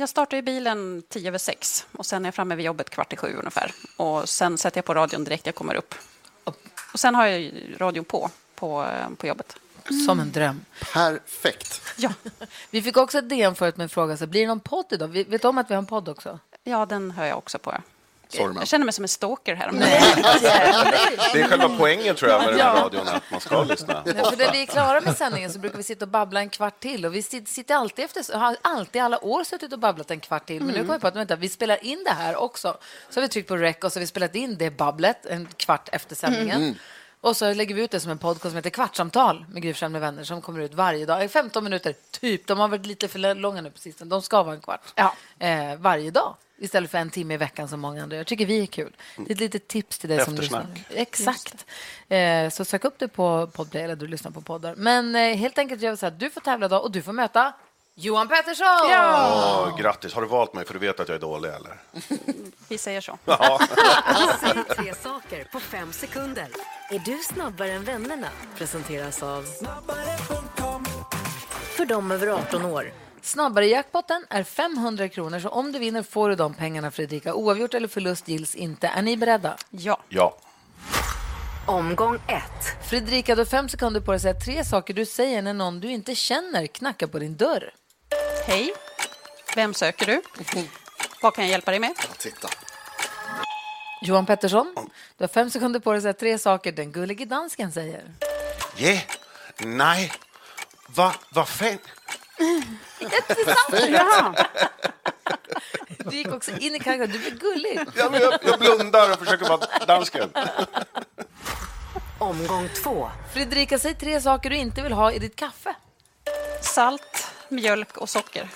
Speaker 7: Jag startar ju bilen tio över sex och sen är jag framme vid jobbet kvart i sju ungefär. Och sen sätter jag på radion direkt jag kommer upp. Och sen har jag ju radion på, på, eh, på jobbet.
Speaker 1: Som en dröm.
Speaker 2: Perfekt.
Speaker 7: Ja.
Speaker 1: Vi fick också ett DM förut med en fråga, så blir det någon podd idag? Vi- Vet du om att vi har en podd också?
Speaker 7: Ja, den hör jag också på.
Speaker 11: Sorry,
Speaker 7: Jag känner mig som en stalker här.
Speaker 11: det är själva poängen tror jag med den här
Speaker 7: Ja.
Speaker 11: radion, att man ska lyssna.
Speaker 1: Nej, för när vi är klara med sändningen så brukar vi sitta och babbla en kvart till. Och vi sit- sitter alltid efter, har alltid alla år suttit och babblat en kvart till. Men nu
Speaker 3: Mm.
Speaker 1: kommer jag på att vänta, vi spelar in det här också. Så har vi tryckt på rec och så har vi spelat in det babblet en kvart efter sändningen.
Speaker 3: Mm.
Speaker 1: Och så lägger vi ut det som en podcast som heter Kvartsamtal med Gry Forssell med vänner som kommer ut varje dag. 15 minuter, typ. De har varit lite för långa nu på sistone. De ska vara en kvart. Eh, varje dag. Istället för en timme i veckan som många andra. Jag tycker vi är kul. Det är ett litet tips till dig som
Speaker 11: Eftersnack.
Speaker 1: lyssnar. Exakt. Eh, så sök upp det på Podplay eller du lyssnar på poddar. Men eh, helt enkelt gör vi så här. Du får tävla idag och du får möta Johan Pettersson!
Speaker 11: Åh, grattis, har du valt mig för du vet att jag är dålig eller?
Speaker 7: Vi säger så.
Speaker 11: Ja.
Speaker 15: Säg tre saker på fem sekunder. Är du snabbare än vännerna? Presenteras av... För dem över 18 år.
Speaker 1: Snabbare jackpotten är 500 kronor, så om du vinner får du de pengarna, Fredrika. Oavgjort eller förlust gills inte. Är ni beredda?
Speaker 7: Ja.
Speaker 11: Ja.
Speaker 1: Omgång ett. Fredrika, du har fem sekunder på dig att säga tre saker du säger när någon du inte känner knackar på din dörr.
Speaker 7: Hej. Vem söker du? Vad kan jag hjälpa dig med?
Speaker 2: Titta.
Speaker 1: Johan Pettersson, du har fem sekunder på dig att säga tre saker den gullige dansken säger.
Speaker 11: Yeah. Nej. Va, vad fan?
Speaker 1: Jättesant! Du gick också in i karaktär. Du blir gullig.
Speaker 11: Ja, men jag, jag blundar och försöker vara dansken.
Speaker 1: Omgång två. Fredrika, säg tre saker du inte vill ha i ditt kaffe.
Speaker 7: Salt, mjölk och socker.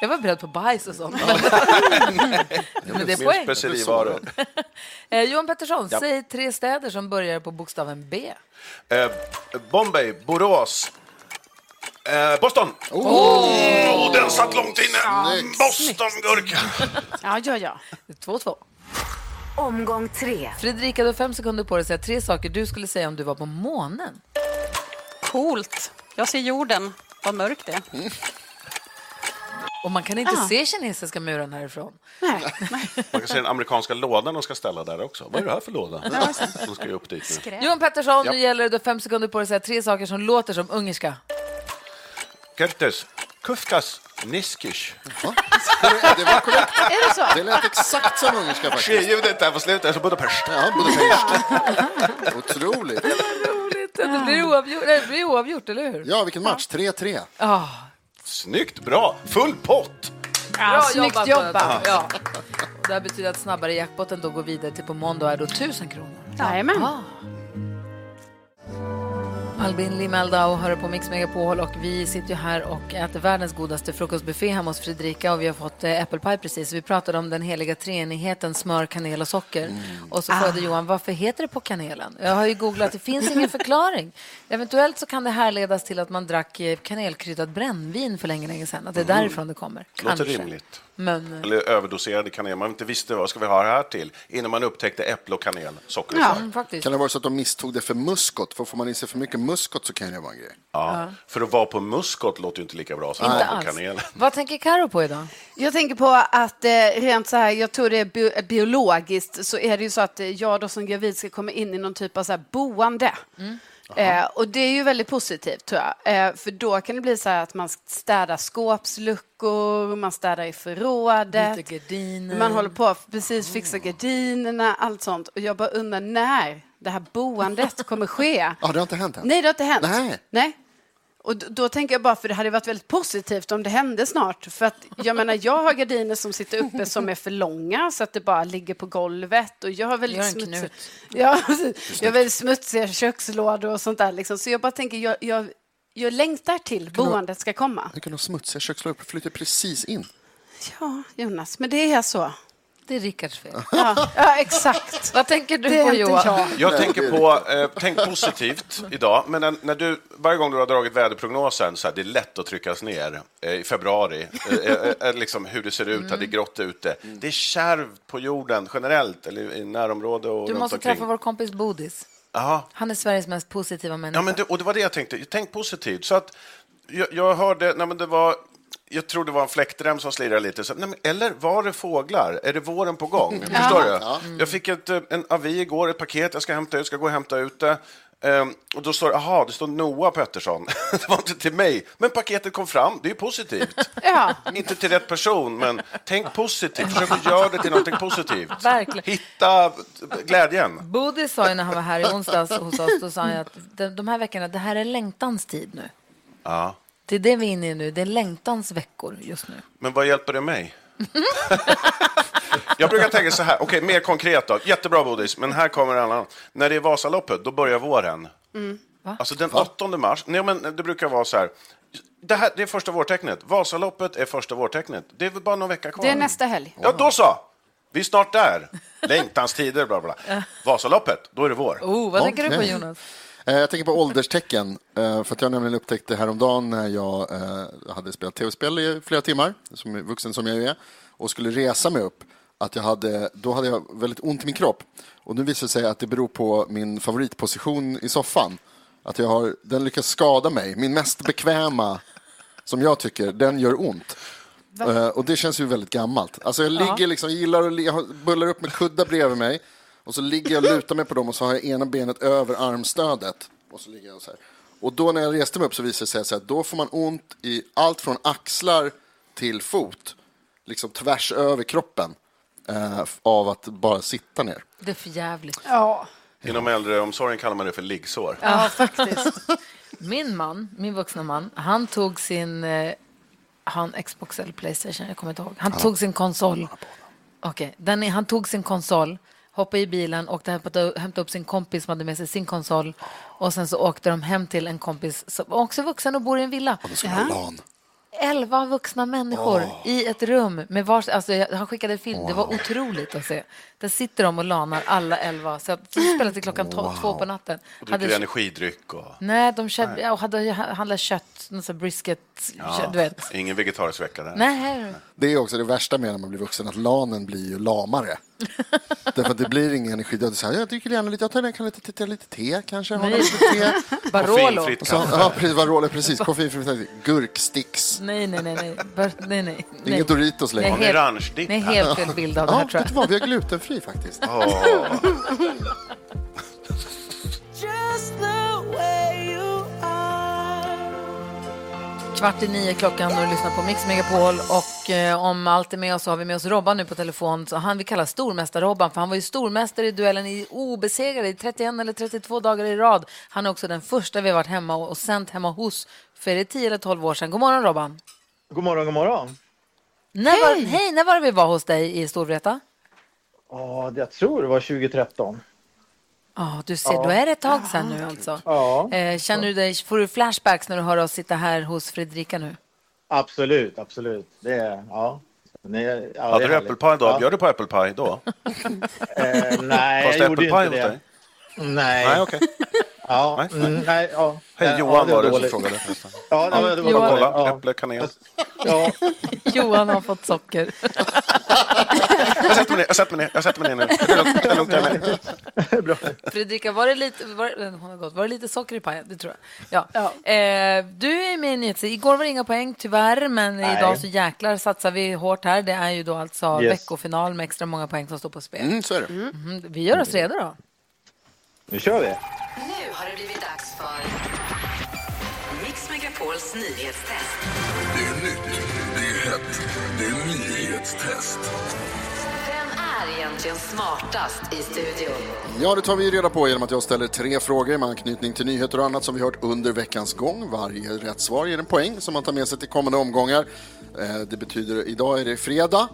Speaker 1: Jag var beredd på bajs och sånt. Men det är
Speaker 11: Mer
Speaker 1: poäng.
Speaker 11: Specerivaror.
Speaker 1: Eh, Johan Pettersson,
Speaker 11: Ja.
Speaker 1: säg tre städer som börjar på bokstaven B.
Speaker 11: Eh, Bombay, Borås, eh, Boston. Åh, den satt långt inne. Mm, Bostongurka.
Speaker 1: Ja, ja, ja. 2-2. Omgång tre. Fredrika, du har fem sekunder på dig att säga tre saker du skulle säga om du var på månen.
Speaker 7: Coolt. Jag ser jorden. Vad mörkt det är.
Speaker 1: Och man kan inte
Speaker 7: Ah.
Speaker 1: se kinesiska muren härifrån.
Speaker 11: Man kan se den amerikanska lådan de ska ställa där också. Vad är det här för låda? De ska ju upp dit nu.
Speaker 1: Johan Pettersson,
Speaker 11: Ja.
Speaker 1: nu gäller det. Du har fem sekunder på dig att säga tre saker som låter som ungerska.
Speaker 11: Kertes, Kufkas, Niskish.
Speaker 2: Det var korrekt.
Speaker 1: Är det så?
Speaker 2: Det lät exakt som ungerska faktiskt.
Speaker 11: Skiljljudet där på slutet, så Budapest.
Speaker 2: Ja, Budapest. Otroligt.
Speaker 1: Det blir oavgjort, det blir oavgjort eller hur?
Speaker 2: Ja, vilken match. 3-3.
Speaker 1: Ah.
Speaker 11: Snyggt, bra, full pott!
Speaker 1: Bra
Speaker 2: snyggt
Speaker 1: jobbat.
Speaker 2: jobbat.
Speaker 1: Böda. Ja. Och Det här betyder att snabbare jackpotten då går vidare till på måndag är då 1000 kronor.
Speaker 3: Jajamän.
Speaker 1: Ah. Albin Limelda och hör på Mix Megapol och vi sitter ju här och äter världens godaste frukostbuffé hemma hos Fredrika och vi har fått eh, äppelpaj precis. Vi pratade om den heliga treenigheten smör, kanel och socker.
Speaker 11: Mm.
Speaker 1: Och så frågade
Speaker 11: Ah.
Speaker 1: Johan, varför heter det på kanelen? Jag har ju googlat, det finns ingen förklaring. Eventuellt så kan det härledas till att man drack eh, kanelkryddat brännvin för länge, länge sedan. Att det är
Speaker 11: Mm.
Speaker 1: därifrån det kommer.
Speaker 11: Låter
Speaker 1: Kanske.
Speaker 11: rimligt.
Speaker 1: Men eh,
Speaker 11: Eller överdoserade kanel. Man inte visste vad ska vi ha det här till innan man upptäckte äpple och kanel, socker och
Speaker 1: Ja,
Speaker 11: salt.
Speaker 1: faktiskt.
Speaker 2: Kan det vara så att de misstog det för muskot? För får man i sig för mycket muskot så kan det vara en grej.
Speaker 11: Ja. För att vara på muskot låter ju inte lika bra som
Speaker 2: Inte
Speaker 11: att vara på
Speaker 2: alls.
Speaker 11: kanel.
Speaker 1: Vad tänker Karo på idag?
Speaker 3: Jag tänker på att eh, rent så här, jag tror det är bi- biologiskt, så är det ju så att eh, jag då som gravid ska komma in i någon typ av så här boende.
Speaker 7: Mm.
Speaker 3: Eh, och det är ju väldigt positivt tror jag, eh, för då kan det bli så här att man städar skåpsluckor, man städar i förrådet,
Speaker 1: Byter gardiner.
Speaker 3: man håller på att precis fixa gardinerna, allt sånt. Och jag bara undrar när det här boendet kommer ske.
Speaker 2: Ja, det har inte hänt än.
Speaker 3: Nej, det har inte hänt.
Speaker 2: Nej.
Speaker 3: Och då, då tänker jag bara, för det hade varit väldigt positivt om det hände snart. För att jag menar, jag har gardiner som sitter uppe som är för långa så att det bara ligger på golvet. Och jag har väldigt,
Speaker 1: Gör en
Speaker 3: smutsiga,
Speaker 1: knut.
Speaker 3: ja, precis. jag har väldigt smutsiga kökslådor och sånt där. Liksom. Så jag bara tänker, jag, jag, jag längtar till
Speaker 2: Kan du-
Speaker 3: boendet ska komma.
Speaker 2: Det kan ha smutsiga kökslådor, flyter precis in.
Speaker 3: Ja, Jonas, men det är så.
Speaker 1: Det är Rickards fel.
Speaker 3: Ja, ja exakt.
Speaker 1: Vad tänker du
Speaker 3: det är
Speaker 1: på
Speaker 3: inte
Speaker 1: Johan?
Speaker 3: jag.
Speaker 11: Jag tänker på, eh, tänk positivt idag, men när, när du, varje gång du har dragit väderprognosen, så här, det är lätt att tryckas ner eh, i februari, eh, eh, eh, liksom hur det ser ut,
Speaker 1: Mm.
Speaker 11: att det är grått ute. Det är kärvt på jorden generellt, eller i närområde och
Speaker 1: Du
Speaker 11: runt
Speaker 1: måste
Speaker 11: omkring.
Speaker 1: träffa vår kompis Bodis.
Speaker 11: Jaha.
Speaker 1: Han är Sveriges mest positiva människa.
Speaker 11: Ja, men det, och det var det jag tänkte. Tänk positivt. Så att, jag, jag hörde, nej, men det var, jag tror det var en fläktrem som slirade lite. Så, nej, men, eller var det fåglar? Är det våren på gång?
Speaker 12: Ja.
Speaker 11: Förstår du?
Speaker 12: Mm. Ja.
Speaker 11: Jag fick ett, eh, en avi igår, ett paket jag ska hämta ut, ska gå och hämta ut det. Ehm, och då står det, aha, det står Noah Pettersson. det var inte till mig, men paketet kom fram. Det är ju positivt.
Speaker 3: Ja.
Speaker 11: inte till rätt person, men tänk positivt. Försök att göra det till någonting positivt.
Speaker 1: Verkligen.
Speaker 11: Hitta glädjen.
Speaker 1: Bodis sa ju när han var här i onsdags hos oss, då sa han ju att de, de här veckorna, det här är längtans tid nu.
Speaker 11: Ja.
Speaker 1: Det är det vi är inne i nu, det är längtans veckor just nu.
Speaker 11: Men vad hjälper det mig? Jag brukar tänka så här, okej, mer konkret då. Jättebra bodis, men här kommer en annan. När det är Vasaloppet, då börjar våren.
Speaker 3: Mm. Va?
Speaker 11: Alltså den 8 mars, nej men det brukar vara så här. Det här det är första vårtecknet. Vasaloppet är första vårtecknet. Det är väl bara någon vecka kvar.
Speaker 3: Det är nästa helg.
Speaker 11: Ja, då så! Vi är snart där. Längtans tider, bla bla.
Speaker 3: Ja.
Speaker 11: Vasaloppet, då är det vår.
Speaker 1: Oh, vad tänker du på
Speaker 2: Okej.
Speaker 1: Jonas?
Speaker 2: Eh, Jag tänker på ålderstecken, eh, för att jag nämligen upptäckte häromdagen när jag eh, hade spelat tv-spel i flera timmar, som vuxen som jag är, och skulle resa mig upp, att jag hade, då hade jag väldigt ont i min kropp. Och nu visar det sig att det beror på min favoritposition i soffan. Att jag har, den lyckas skada mig, min mest bekväma, som jag tycker, den gör ont. Eh, Och det känns ju väldigt gammalt. Alltså jag
Speaker 12: Ja.
Speaker 2: ligger liksom, jag gillar att li- jag har- bullar upp med kuddar bredvid mig och så ligger jag och lutar mig på dem och så har jag ena benet över armstödet. Och så ligger jag så här. Och då när jag reste mig upp så visade det sig så här, då får man ont i allt från axlar till fot, liksom tvärs över kroppen eh, av att bara sitta ner.
Speaker 1: Det är för jävligt.
Speaker 3: Ja.
Speaker 11: Inom äldreomsorgen kallar man det för liggsår.
Speaker 1: Ja, faktiskt. Min man, min vuxna man, han tog sin... eh, Han Xbox eller Playstation, jag kommer inte ihåg. Han
Speaker 3: Ja.
Speaker 1: tog sin konsol. Okej, den är- han tog sin konsol, hoppade i bilen, åkte och hämtade, hämtade upp sin kompis som hade med sig sin konsol. Och sen så åkte de hem till en kompis som också är vuxen och bor i en villa. Elva vuxna människor i ett rum med vars... Alltså, jag- han skickade en film, det var otroligt att se. Där sitter de och lanar alla elva. Så att- så spelar till klockan tolv,
Speaker 11: Wow.
Speaker 1: två på natten.
Speaker 11: Och
Speaker 1: Hade-
Speaker 11: dricker energidryck och...
Speaker 1: Nej, de köpt, ja, och hade handlat kött, någon sån här brisket, kött, du vet.
Speaker 11: Ingen vegetarisk vecka där.
Speaker 1: Nej,
Speaker 2: Det är också det värsta med när man blir vuxen, att lanen blir ju lamare. Därför att det blir ingen energi. Det är så här, Jag dricker gärna lite, jag tar den, kan lite, lite, lite te kanske. har
Speaker 1: Nej.
Speaker 2: lite te.
Speaker 1: Barolo. Koffeinfritt
Speaker 2: Och så-
Speaker 1: kaffe.
Speaker 2: Ja, precis, Barolo, precis. Koffeinfritt kaffe. Gurksticks.
Speaker 1: nej, nej, nej, nej, Bör, nej, nej. nej.
Speaker 2: Inget Doritos längre.
Speaker 1: Nej, helt, nej, helt fel bild av det här
Speaker 2: ja,
Speaker 1: tror
Speaker 2: vet du
Speaker 1: jag.
Speaker 2: vad, vi har glutenfri faktiskt.
Speaker 16: Just the way you
Speaker 1: Kvart i nio klockan och du lyssnar på Mix Megapol och eh, om allt är med oss så har vi med oss Robban nu på telefon. Så han vi kallar stormästar-Robban för han var ju stormästare i duellen i obesegrade i 31 eller 32 dagar i rad. Han är också den första vi har varit hemma och, och sänt hemma hos för är det 10 eller 12 år sedan. God morgon Robban!
Speaker 13: God morgon, god morgon.
Speaker 1: När hej. Var, hej! När var det vi var hos dig i Storvreta?
Speaker 13: Ja, jag tror det var 2013.
Speaker 1: Ja, du ser,
Speaker 13: Ja.
Speaker 1: då är det ett tag sedan nu alltså.
Speaker 13: Ja.
Speaker 1: Eh, känner du dig, får du flashbacks när du hör oss sitta här hos Fredrika nu?
Speaker 13: Absolut, absolut. Det är, ja. Ni, ja, det är
Speaker 11: Hade du
Speaker 13: härligt.
Speaker 11: äppelpaj då?
Speaker 13: Ja.
Speaker 11: Bjöd du på äppelpaj då?
Speaker 13: Eh, nej,
Speaker 11: Fanns
Speaker 13: jag gjorde
Speaker 11: äppelpaj
Speaker 13: inte
Speaker 11: hos
Speaker 13: det.
Speaker 11: dig?
Speaker 13: Nej.
Speaker 11: Nej, okej.
Speaker 13: Ja,
Speaker 11: Nej.
Speaker 13: mm, nej, ja.
Speaker 11: Hej,
Speaker 13: Ja,
Speaker 11: Johan var det som
Speaker 13: dåligt.
Speaker 11: frågade förresten.
Speaker 13: Ja, det var, det var
Speaker 11: Johan.
Speaker 13: dåligt.
Speaker 11: Kolla,
Speaker 13: Ja.
Speaker 11: äpple, kanel.
Speaker 13: Ja.
Speaker 1: Johan har fått socker.
Speaker 11: Jag sätter mig ner, jag sätter mig ner, jag sätter mig ner nu. Det är lugnt, det är lugnt, jag är med.
Speaker 1: Fredrika, var det lite, var, det- hon har gått, var det lite socker i pajen? Det tror jag. Ja. Eh, du är med i nyhets- Igår var det inga poäng tyvärr, men
Speaker 13: Nej.
Speaker 1: idag så jäklar satsar vi hårt här. Det är ju då alltså
Speaker 13: Yes.
Speaker 1: veckofinal med extra många poäng som står på spel.
Speaker 13: Mm, så är det.
Speaker 1: Mhm, Vi gör oss redo då.
Speaker 13: Nu kör vi.
Speaker 15: Nu har det blivit dags för Mix Megapols nyhetstest.
Speaker 17: Det är nytt, det är hett, det är nyhetstest.
Speaker 15: Vem är egentligen smartast i studion?
Speaker 2: Ja, det tar vi reda på genom att jag ställer tre frågor med anknytning till nyheter och annat som vi hört under veckans gång. Varje rätt svar ger en poäng som man tar med sig till kommande omgångar. Eh, Det betyder, idag är det fredag.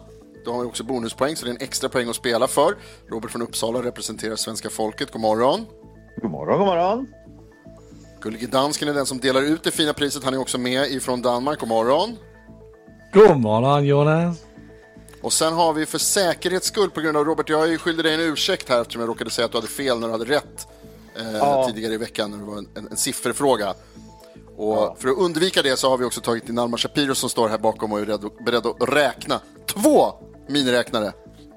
Speaker 2: Då har vi också bonuspoäng, så det är en extra poäng att spela för. Robert från Uppsala representerar svenska folket. God morgon!
Speaker 13: God morgon, god morgon!
Speaker 2: Gullige dansken är den som delar ut det fina priset. Han är också med ifrån Danmark. God morgon!
Speaker 5: God morgon Jonas.
Speaker 2: Och sen har vi för säkerhets skull, på grund av Robert, jag är ju skyldig dig en ursäkt här eftersom jag råkade säga att du hade fel när du hade rätt eh,
Speaker 13: Ja.
Speaker 2: tidigare i veckan när det var en, en, en sifferfråga. Och för att undvika det så har vi också tagit in Alma Shapiro som står här bakom och är redo, beredd att räkna två miniräknare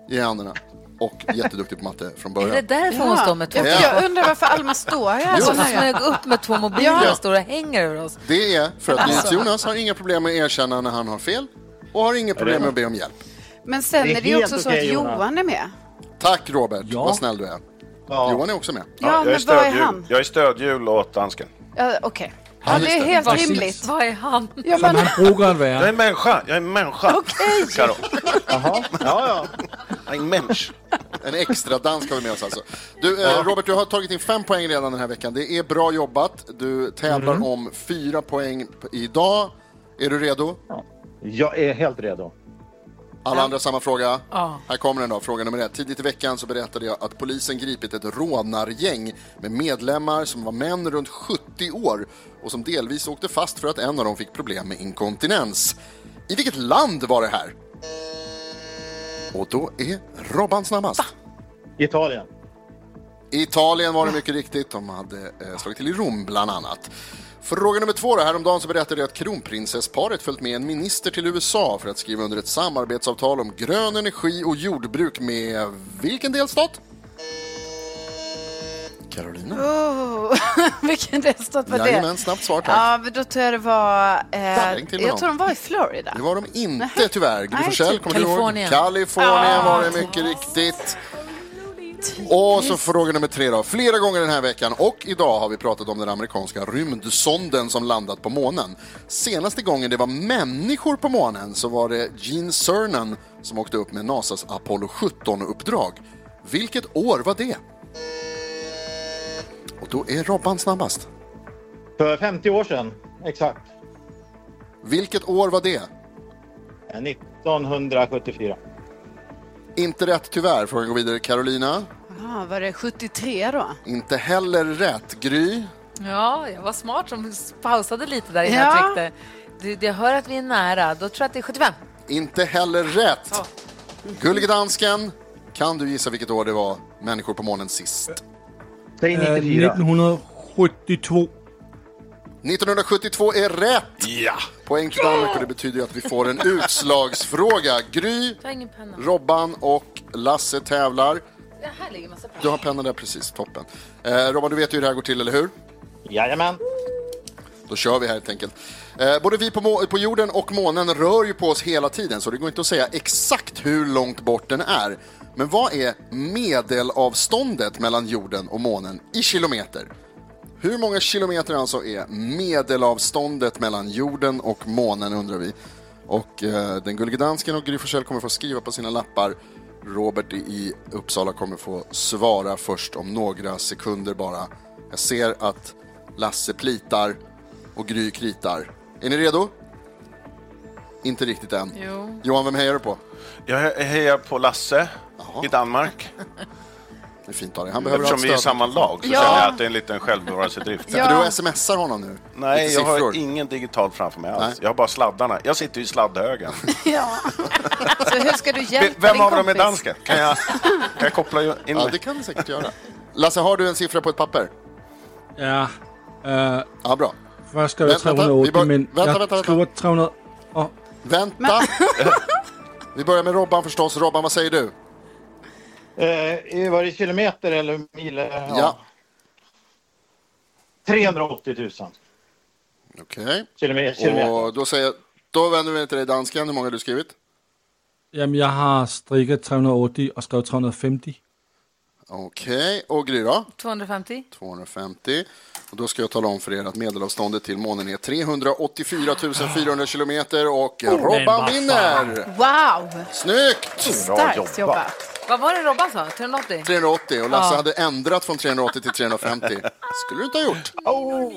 Speaker 2: i händerna. Och jätteduktig på matte från
Speaker 1: Är det
Speaker 2: början.
Speaker 1: därför hon
Speaker 2: Ja.
Speaker 1: står med två
Speaker 2: Ja.
Speaker 1: mobiler?
Speaker 2: Jag
Speaker 7: undrar varför Alma står här
Speaker 2: Jo.
Speaker 1: Hon smög upp med två mobiler
Speaker 2: Ja.
Speaker 1: och står och hänger över oss.
Speaker 2: Det är för att
Speaker 1: Alltså.
Speaker 2: NyhetsJonas har inga problem med att erkänna när han har fel och har inga problem med att be om hjälp.
Speaker 3: Men sen
Speaker 2: Det är
Speaker 3: är det ju
Speaker 2: helt
Speaker 3: också så
Speaker 2: okej,
Speaker 3: att
Speaker 2: Jonas.
Speaker 3: Johan är med.
Speaker 2: Tack Robert, vad snäll du är. Johan är också med.
Speaker 3: Ja, Ja, jag är men vad är stödhjul. han?
Speaker 11: Jag är stödhjul åt dansken.
Speaker 3: Ja, Okej. Ja,
Speaker 11: Ja,
Speaker 3: det är
Speaker 11: just det.
Speaker 3: helt
Speaker 11: Precis.
Speaker 3: rimligt.
Speaker 1: Vad är han?
Speaker 3: Ja, men,
Speaker 5: brukar vara.
Speaker 11: Jag är en människa, jag är en människa. Okej. Karo.
Speaker 13: Jaha, ja,
Speaker 11: ja. Jag är en människa.
Speaker 2: En extra dans har vi med oss alltså. Du, eh, Robert, du har tagit in fem poäng redan den här veckan. Det är bra jobbat. Du tävlar
Speaker 13: Mm.
Speaker 2: om fyra poäng p- idag. Är du redo?
Speaker 13: Jag är helt redo.
Speaker 2: Alla andra samma fråga.
Speaker 1: Ja.
Speaker 2: Här kommer den då, fråga nummer ett. Tidigt i veckan så berättade jag att polisen gripit ett rånargäng med medlemmar som var män runt 70 år och som delvis åkte fast för att en av dem fick problem med inkontinens. I vilket land var det här? Och då är Robban snabbast.
Speaker 13: Italien.
Speaker 2: I Italien var det mycket riktigt. De hade eh, slagit till i Rom bland annat. Fråga nummer två. Då. Häromdagen så berättade jag att kronprinsessparet följt med en minister till USA för att skriva under ett samarbetsavtal om grön energi och jordbruk med vilken delstat? Carolina.
Speaker 3: Oh, vilken delstat var det?
Speaker 2: Jajamän, snabbt svar tack.
Speaker 3: Ja, men då tror jag det var... Eh,
Speaker 2: Där, till med
Speaker 3: jag tror
Speaker 2: dem.
Speaker 3: de var i Florida.
Speaker 2: Det var de inte tyvärr. Gry Forssell, kommer du ihåg?
Speaker 3: Kalifornien.
Speaker 2: Kalifornien
Speaker 3: Ah,
Speaker 2: var det mycket riktigt. Och så fråga nummer tre då. Flera gånger den här veckan och idag har vi pratat om den amerikanska rymdsonden som landat på månen. Senaste gången det var människor på månen så var det Gene Cernan som åkte upp med NASAs Apollo 17-uppdrag. Vilket år var det? Och då är Robban snabbast.
Speaker 13: För 50 år sedan, exakt.
Speaker 2: Vilket år var det?
Speaker 13: 1974.
Speaker 2: Inte rätt tyvärr. Frågan går vidare. Carolina?
Speaker 3: Ja, var det 73 då?
Speaker 2: Inte heller rätt. Gry?
Speaker 1: Ja, jag var smart som pausade lite där innan
Speaker 3: Ja.
Speaker 1: jag tryckte. Du, jag hör att vi är nära. Då tror jag att det är 75.
Speaker 2: Inte heller rätt. Gullige dansken, kan du gissa vilket år det var människor på månen sist?
Speaker 13: Säg
Speaker 5: Eh, 1972.
Speaker 2: 1972 är rätt!
Speaker 11: Ja.
Speaker 2: Poäng till Danmark och det betyder ju att vi får en utslagsfråga. Gry,
Speaker 1: Ta ingen penna.
Speaker 2: Robban och Lasse tävlar.
Speaker 1: Det här ligger massa pengar.
Speaker 2: Du har pennan där precis, toppen. Eh, Robban, du vet ju hur det här går till, eller hur?
Speaker 13: Jajamän.
Speaker 2: Då kör vi här helt enkelt. Eh, både vi på, må- på jorden och månen rör ju på oss hela tiden så det går inte att säga exakt hur långt bort den är. Men vad är medelavståndet mellan jorden och månen i kilometer? Hur många kilometer alltså är medelavståndet mellan jorden och månen undrar vi. Och eh, den gullige dansken och Gry Forssell kommer få skriva på sina lappar. Robert i Uppsala kommer få svara först om några sekunder bara. Jag ser att Lasse plitar och Gry kritar. Är ni redo? Inte riktigt än.
Speaker 1: Jo.
Speaker 2: Johan, vem hejar du på?
Speaker 11: Jag he- hejar på Lasse i Danmark.
Speaker 2: Det är fint av dig. Han behöver
Speaker 11: Eftersom
Speaker 2: allt
Speaker 11: vi är i
Speaker 2: stöd.
Speaker 11: samma lag så
Speaker 2: Ja.
Speaker 11: känner jag att det är en liten självbevarelsedrift.
Speaker 2: Ja. Du smsar honom nu?
Speaker 11: Nej,
Speaker 2: Lite
Speaker 11: jag har
Speaker 2: siffror.
Speaker 11: ingen digital framför mig alls. Jag har bara sladdarna. Jag sitter ju i sladdhögen.
Speaker 3: Ja. Så hur ska du
Speaker 11: Vem
Speaker 3: hjälpa
Speaker 11: vem
Speaker 3: din
Speaker 11: av dem är
Speaker 3: kompis?
Speaker 11: dansken? Kan jag, kan jag koppla ju in
Speaker 2: Ja, det kan du säkert göra. Lasse, har du en siffra på ett papper?
Speaker 5: Ja. Uh,
Speaker 2: ja, bra.
Speaker 5: Först skrev jag
Speaker 2: Vänta, vänta,
Speaker 5: 380,
Speaker 2: vi bör-
Speaker 5: men
Speaker 2: vänta,
Speaker 5: jag
Speaker 2: vänta, vänta.
Speaker 5: skriver 300... Ja,
Speaker 2: Vänta! vi börjar med Robban förstås. Robban, vad säger du?
Speaker 13: Eh, var det kilometer eller mil? Eh,
Speaker 2: Ja.
Speaker 13: 380 000
Speaker 2: Okej.
Speaker 13: kilometer. kilometer.
Speaker 2: Och då säger jag, då vänder vi till dig dansken, hur många har du skrivit?
Speaker 5: jamen, jeg har strikket 380 och skrevet 350.
Speaker 2: Okej, och Gry då?
Speaker 1: 250.
Speaker 2: 250. Och då ska jag tala om för er att medelavståndet till månen är 384 400 kilometer och Robban vinner!
Speaker 3: Wow!
Speaker 2: Snyggt!
Speaker 3: Starkt jobbat.
Speaker 1: Vad var det Robban sa? 380?
Speaker 2: 380 och Lasse
Speaker 1: Ja.
Speaker 2: hade ändrat från 380 till 350. skulle du inte ha gjort.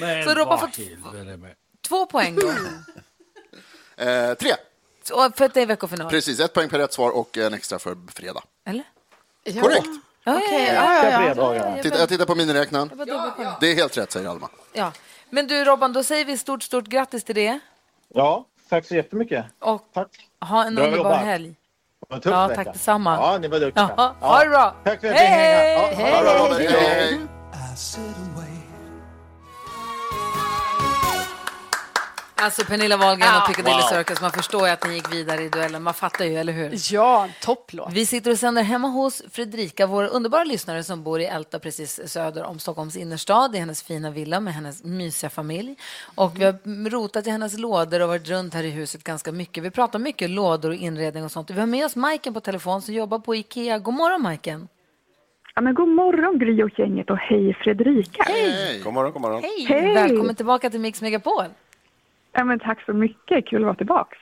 Speaker 5: Men
Speaker 1: Så Robban
Speaker 5: vad
Speaker 1: får
Speaker 5: helvete, mand.
Speaker 1: två poäng då.
Speaker 3: Mm.
Speaker 2: Eh, tre,
Speaker 1: Och för att det är veckofinal.
Speaker 2: precis. Ett poäng per rätt svar och en extra för fredag.
Speaker 1: Eller?
Speaker 2: Korrekt!
Speaker 1: Ja,
Speaker 3: Okej,
Speaker 1: ja, ja, ja, ja.
Speaker 2: Titta, jag tittar på miniräknaren.
Speaker 1: Det var dubbelkoll.
Speaker 2: Det är helt rätt, säger Alma.
Speaker 1: Ja. Men du Robban, då säger vi stort, stort grattis till det.
Speaker 13: Ja, tack så jättemycket.
Speaker 1: Och ha en
Speaker 13: Bra
Speaker 1: underbar
Speaker 13: jobbat.
Speaker 1: helg.
Speaker 13: Vad tufft
Speaker 1: Ja,
Speaker 13: vecka.
Speaker 1: tack detsamma.
Speaker 13: Ja, ni var duktiga.
Speaker 1: Ja, ha det bra.
Speaker 13: Tack för att
Speaker 1: Hej,
Speaker 13: jag fick hänga. Ja,
Speaker 1: hej,
Speaker 13: ha det bra,
Speaker 1: hej,
Speaker 13: Robert.
Speaker 1: hej.
Speaker 13: Hej.
Speaker 1: Alltså Pernilla Wahlgren
Speaker 3: Ja.
Speaker 1: och Piccadilly
Speaker 3: Wow.
Speaker 1: Circus, man förstår ju att ni gick vidare i duellen. Man fattar ju, eller hur?
Speaker 3: Ja, topplåt.
Speaker 1: Vi sitter och sänder hemma hos Fredrika, vår underbara lyssnare som bor i Älta precis söder om Stockholms innerstad, i hennes fina villa med hennes mysiga familj. Och vi har rotat i hennes lådor och varit runt här i huset ganska mycket. Vi pratar mycket lådor och inredning och sånt. Vi har med oss Majken på telefon som jobbar på Ikea. God morgon Majken!
Speaker 14: Ja, men god morgon Gry och gänget och hej Fredrika.
Speaker 11: God morgon, god morgon.
Speaker 14: Hej.
Speaker 1: Välkommen tillbaka till Mix Megapol!
Speaker 14: Ja, men tack så mycket, kul att vara tillbaks.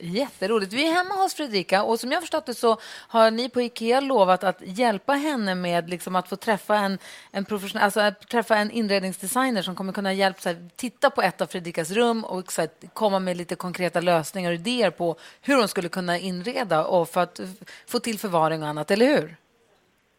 Speaker 1: Jätteroligt. Vi är hemma hos Fredrika och som jag har förstått det så har ni på Ikea lovat att hjälpa henne med liksom att få träffa en, en, professionell, alltså att träffa en inredningsdesigner som kommer kunna hjälpa, så här, titta på ett av Fredrikas rum och så här, komma med lite konkreta lösningar och idéer på hur hon skulle kunna inreda och för att få till förvaring och annat, eller hur?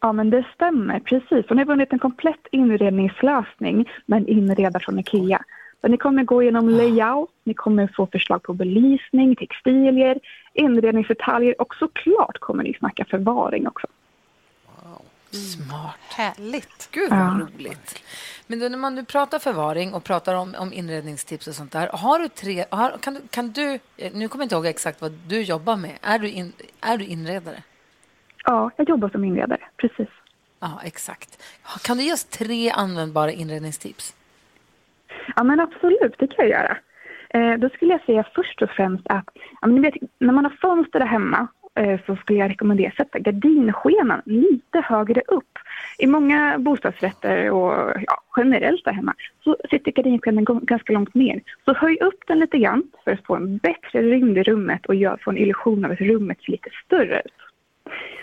Speaker 14: Ja, men det stämmer. Precis. Hon har vunnit en komplett inredningslösning med en inredare från Ikea. Så ni kommer gå igenom layout, ni kommer få förslag på belysning, textilier, inredningsdetaljer och såklart kommer ni snacka förvaring också.
Speaker 1: Smart. Härligt. Gud, vad
Speaker 14: Ja.
Speaker 1: roligt. Men då när man nu pratar förvaring och pratar om, om inredningstips och sånt där, har du tre... Har, kan, du- kan du... eh, Nu kommer jag inte ihåg exakt vad du jobbar med. Är du, in, är du inredare?
Speaker 14: Ja, jag jobbar som inredare. Precis.
Speaker 1: Ja, exakt. Kan du ge oss tre användbara inredningstips?
Speaker 14: Ja, men absolut, det kan jag göra. Eh, då skulle jag säga först och främst att ja, men ni vet, när man har fönster där hemma eh, så skulle jag rekommendera att sätta gardinskenan lite högre upp. I många bostadsrätter och ja, generellt där hemma så sitter gardinskenan g- ganska långt ner. Så höj upp den lite grann för att få en bättre rymd i rummet och gör, få en illusion av att rummet ser lite större ut.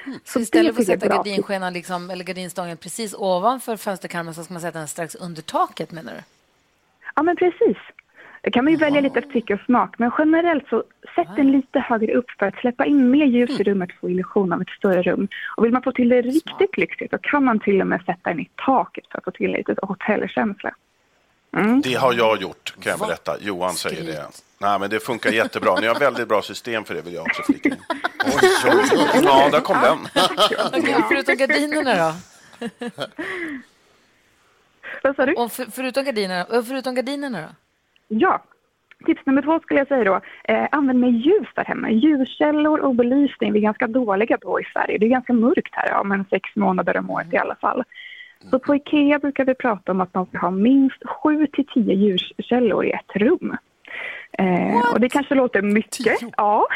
Speaker 1: Mm. Så
Speaker 14: det
Speaker 1: istället för att
Speaker 14: tycker jag är
Speaker 1: sätta
Speaker 14: bra.
Speaker 1: gardinskenan liksom, eller gardinstången precis ovanför fönsterkarmen så ska man sätta den strax under taket, menar du?
Speaker 14: Ja, men precis. Det kan man ju välja lite efter tycke och smak, men generellt så sätt den lite högre upp för att släppa in mer ljus i rummet och få illusion av ett större rum. Och vill man få till det riktigt lyxigt så kan man till och med sätta den i taket för att få till lite hotellkänsla.
Speaker 11: Det har jag gjort, kan jag berätta. Johan säger det. Nej, men det funkar jättebra. Ni har väldigt bra system för det, vill jag också flika in. Oj, oj, oj. Ja, där kom den.
Speaker 1: Okej, förutom gardinerna då?
Speaker 14: Vad sa du?
Speaker 1: Och för, förutom, gardinerna, och förutom gardinerna då?
Speaker 14: Ja, tips nummer två skulle jag säga då. Eh, använd mer ljus där hemma. Ljuskällor och belysning, vi är ganska dåliga på i Sverige. Det är ganska mörkt här, ja, men sex månader om året i alla fall. Så på Ikea brukar vi prata om att man ska ha minst sju till tio ljuskällor i ett rum. Eh, och det kanske låter mycket, ja.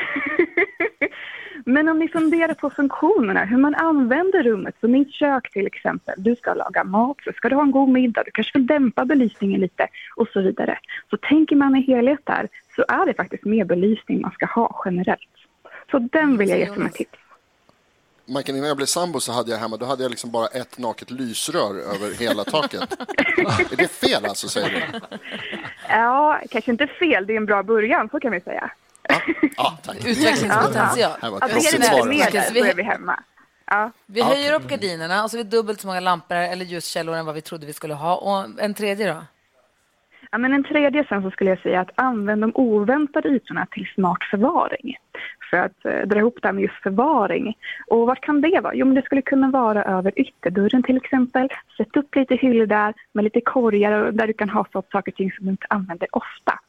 Speaker 14: Men om ni funderar på funktionerna, hur man använder rummet, som mitt kök till exempel. Du ska laga mat, så ska du ha en god middag, du kanske vill dämpa belysningen lite och så vidare. Så tänker man i helhet där så är det faktiskt mer belysning man ska ha generellt. Så den vill jag ge som ett tips.
Speaker 2: Majken, innan jag blev sambo så hade jag hemma, då hade jag liksom bara ett naket lysrör över hela taket. är det fel alltså, säger du?
Speaker 14: Ja, kanske inte fel, det är en bra början, så kan vi säga.
Speaker 2: Ja, tack.
Speaker 1: Utvecklingspotential.
Speaker 2: Här var ett
Speaker 14: Addera
Speaker 2: proffsigt
Speaker 14: lite
Speaker 2: svar.
Speaker 14: mer där,
Speaker 1: Vi-
Speaker 14: så är vi hemma. Ja.
Speaker 1: Vi höjer upp gardinerna och så har vi dubbelt så många lampor eller ljuskällor än vad vi trodde vi skulle ha. Och en tredje då?
Speaker 14: Ja, men en tredje sen så skulle jag säga att använd de oväntade ytorna till smart förvaring. För att eh, dra ihop det här med just förvaring. Och vad kan det vara? Jo, men det skulle kunna vara över ytterdörren till exempel. Sätt upp lite hyllor där med lite korgar och där du kan ha så- saker och ting som du inte använder ofta.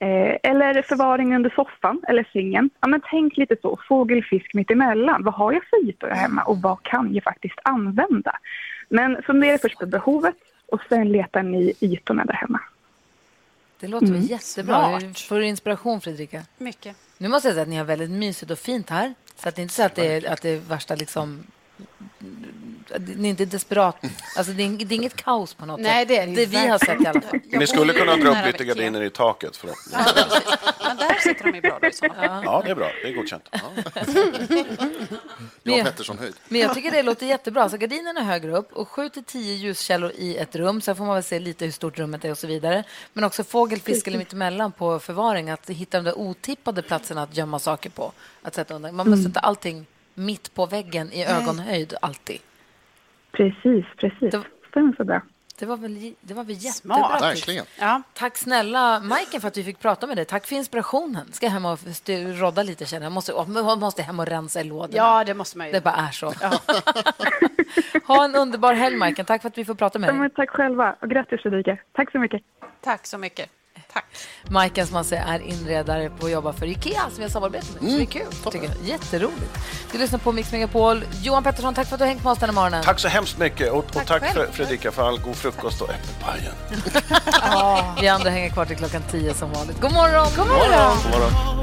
Speaker 14: Eh, eller förvaring under soffan eller sängen. Ja, men tänk lite så, fågel, fisk mitt emellan. Vad har jag för ytor här hemma och vad kan jag faktiskt använda? Men fundera först på behovet och sen letar ni ytorna där hemma.
Speaker 1: Det låter väl
Speaker 14: Mm.
Speaker 1: jättebra. Får du inspiration, Fredrika?
Speaker 7: Mycket.
Speaker 1: Nu måste jag säga att ni har väldigt mysigt och fint här. Så att det är inte så att det är, att det är värsta liksom... att Ni är inte desperat. Alltså, det, är, ing- det är inget kaos på något
Speaker 3: Mm. Nej,
Speaker 1: sätt.
Speaker 3: det är det ju
Speaker 1: vi har sett i alla fall.
Speaker 11: Ni skulle kunna dra upp lite gardiner i taket. För
Speaker 7: Men där sitter de ju bra då i så fall.
Speaker 11: ja, det är bra. Det är godkänt.
Speaker 1: Men
Speaker 11: Johan
Speaker 1: jag-
Speaker 11: Pettersson-höjd.
Speaker 1: Men jag tycker det låter jättebra. Så gardinerna är högre upp och 7 till 10 ljuskällor i ett rum. Sen får man väl se lite hur stort rummet är och så vidare. Men också fågel, fisk eller mittemellan på förvaring. Att hitta de där otippade platserna att gömma saker på. Att sätta undan. Man måste
Speaker 14: Mm.
Speaker 1: sätta allting mitt på väggen i
Speaker 14: Nej.
Speaker 1: ögonhöjd alltid.
Speaker 14: Precis, precis. Stämmer så bra.
Speaker 1: Det var väl, det var väl jättebra.
Speaker 14: Smart.
Speaker 1: tips.
Speaker 14: Verkligen.
Speaker 1: Tack snälla Majken för att vi fick prata med dig. Tack för inspirationen. Ska jag hem och styr- rodda lite känner jag. Måste, åh, man måste hem och rensa i lådorna.
Speaker 3: Ja, det måste man ju.
Speaker 1: Det bara är så. ha en underbar helg Majken. Tack för att vi får prata med
Speaker 14: Ja,
Speaker 1: dig.
Speaker 14: men tack själva och grattis Fredrika. Tack så mycket.
Speaker 7: Tack så mycket.
Speaker 1: Majken som man säger är inredare på att jobba för Ikea som jag samarbetar med. Så det är kul. Tycker jag. Jätteroligt. Du lyssnar på Mix Megapol. Johan Pettersson, tack för att du har hängt med oss den här morgonen.
Speaker 11: Tack så hemskt mycket. Och, och tack
Speaker 1: själv.
Speaker 11: för Fredrika för all god frukost och äppelpajen.
Speaker 1: Vi andra hänger kvar till klockan tio som vanligt. God morgon! God
Speaker 11: God morgon.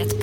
Speaker 18: Ett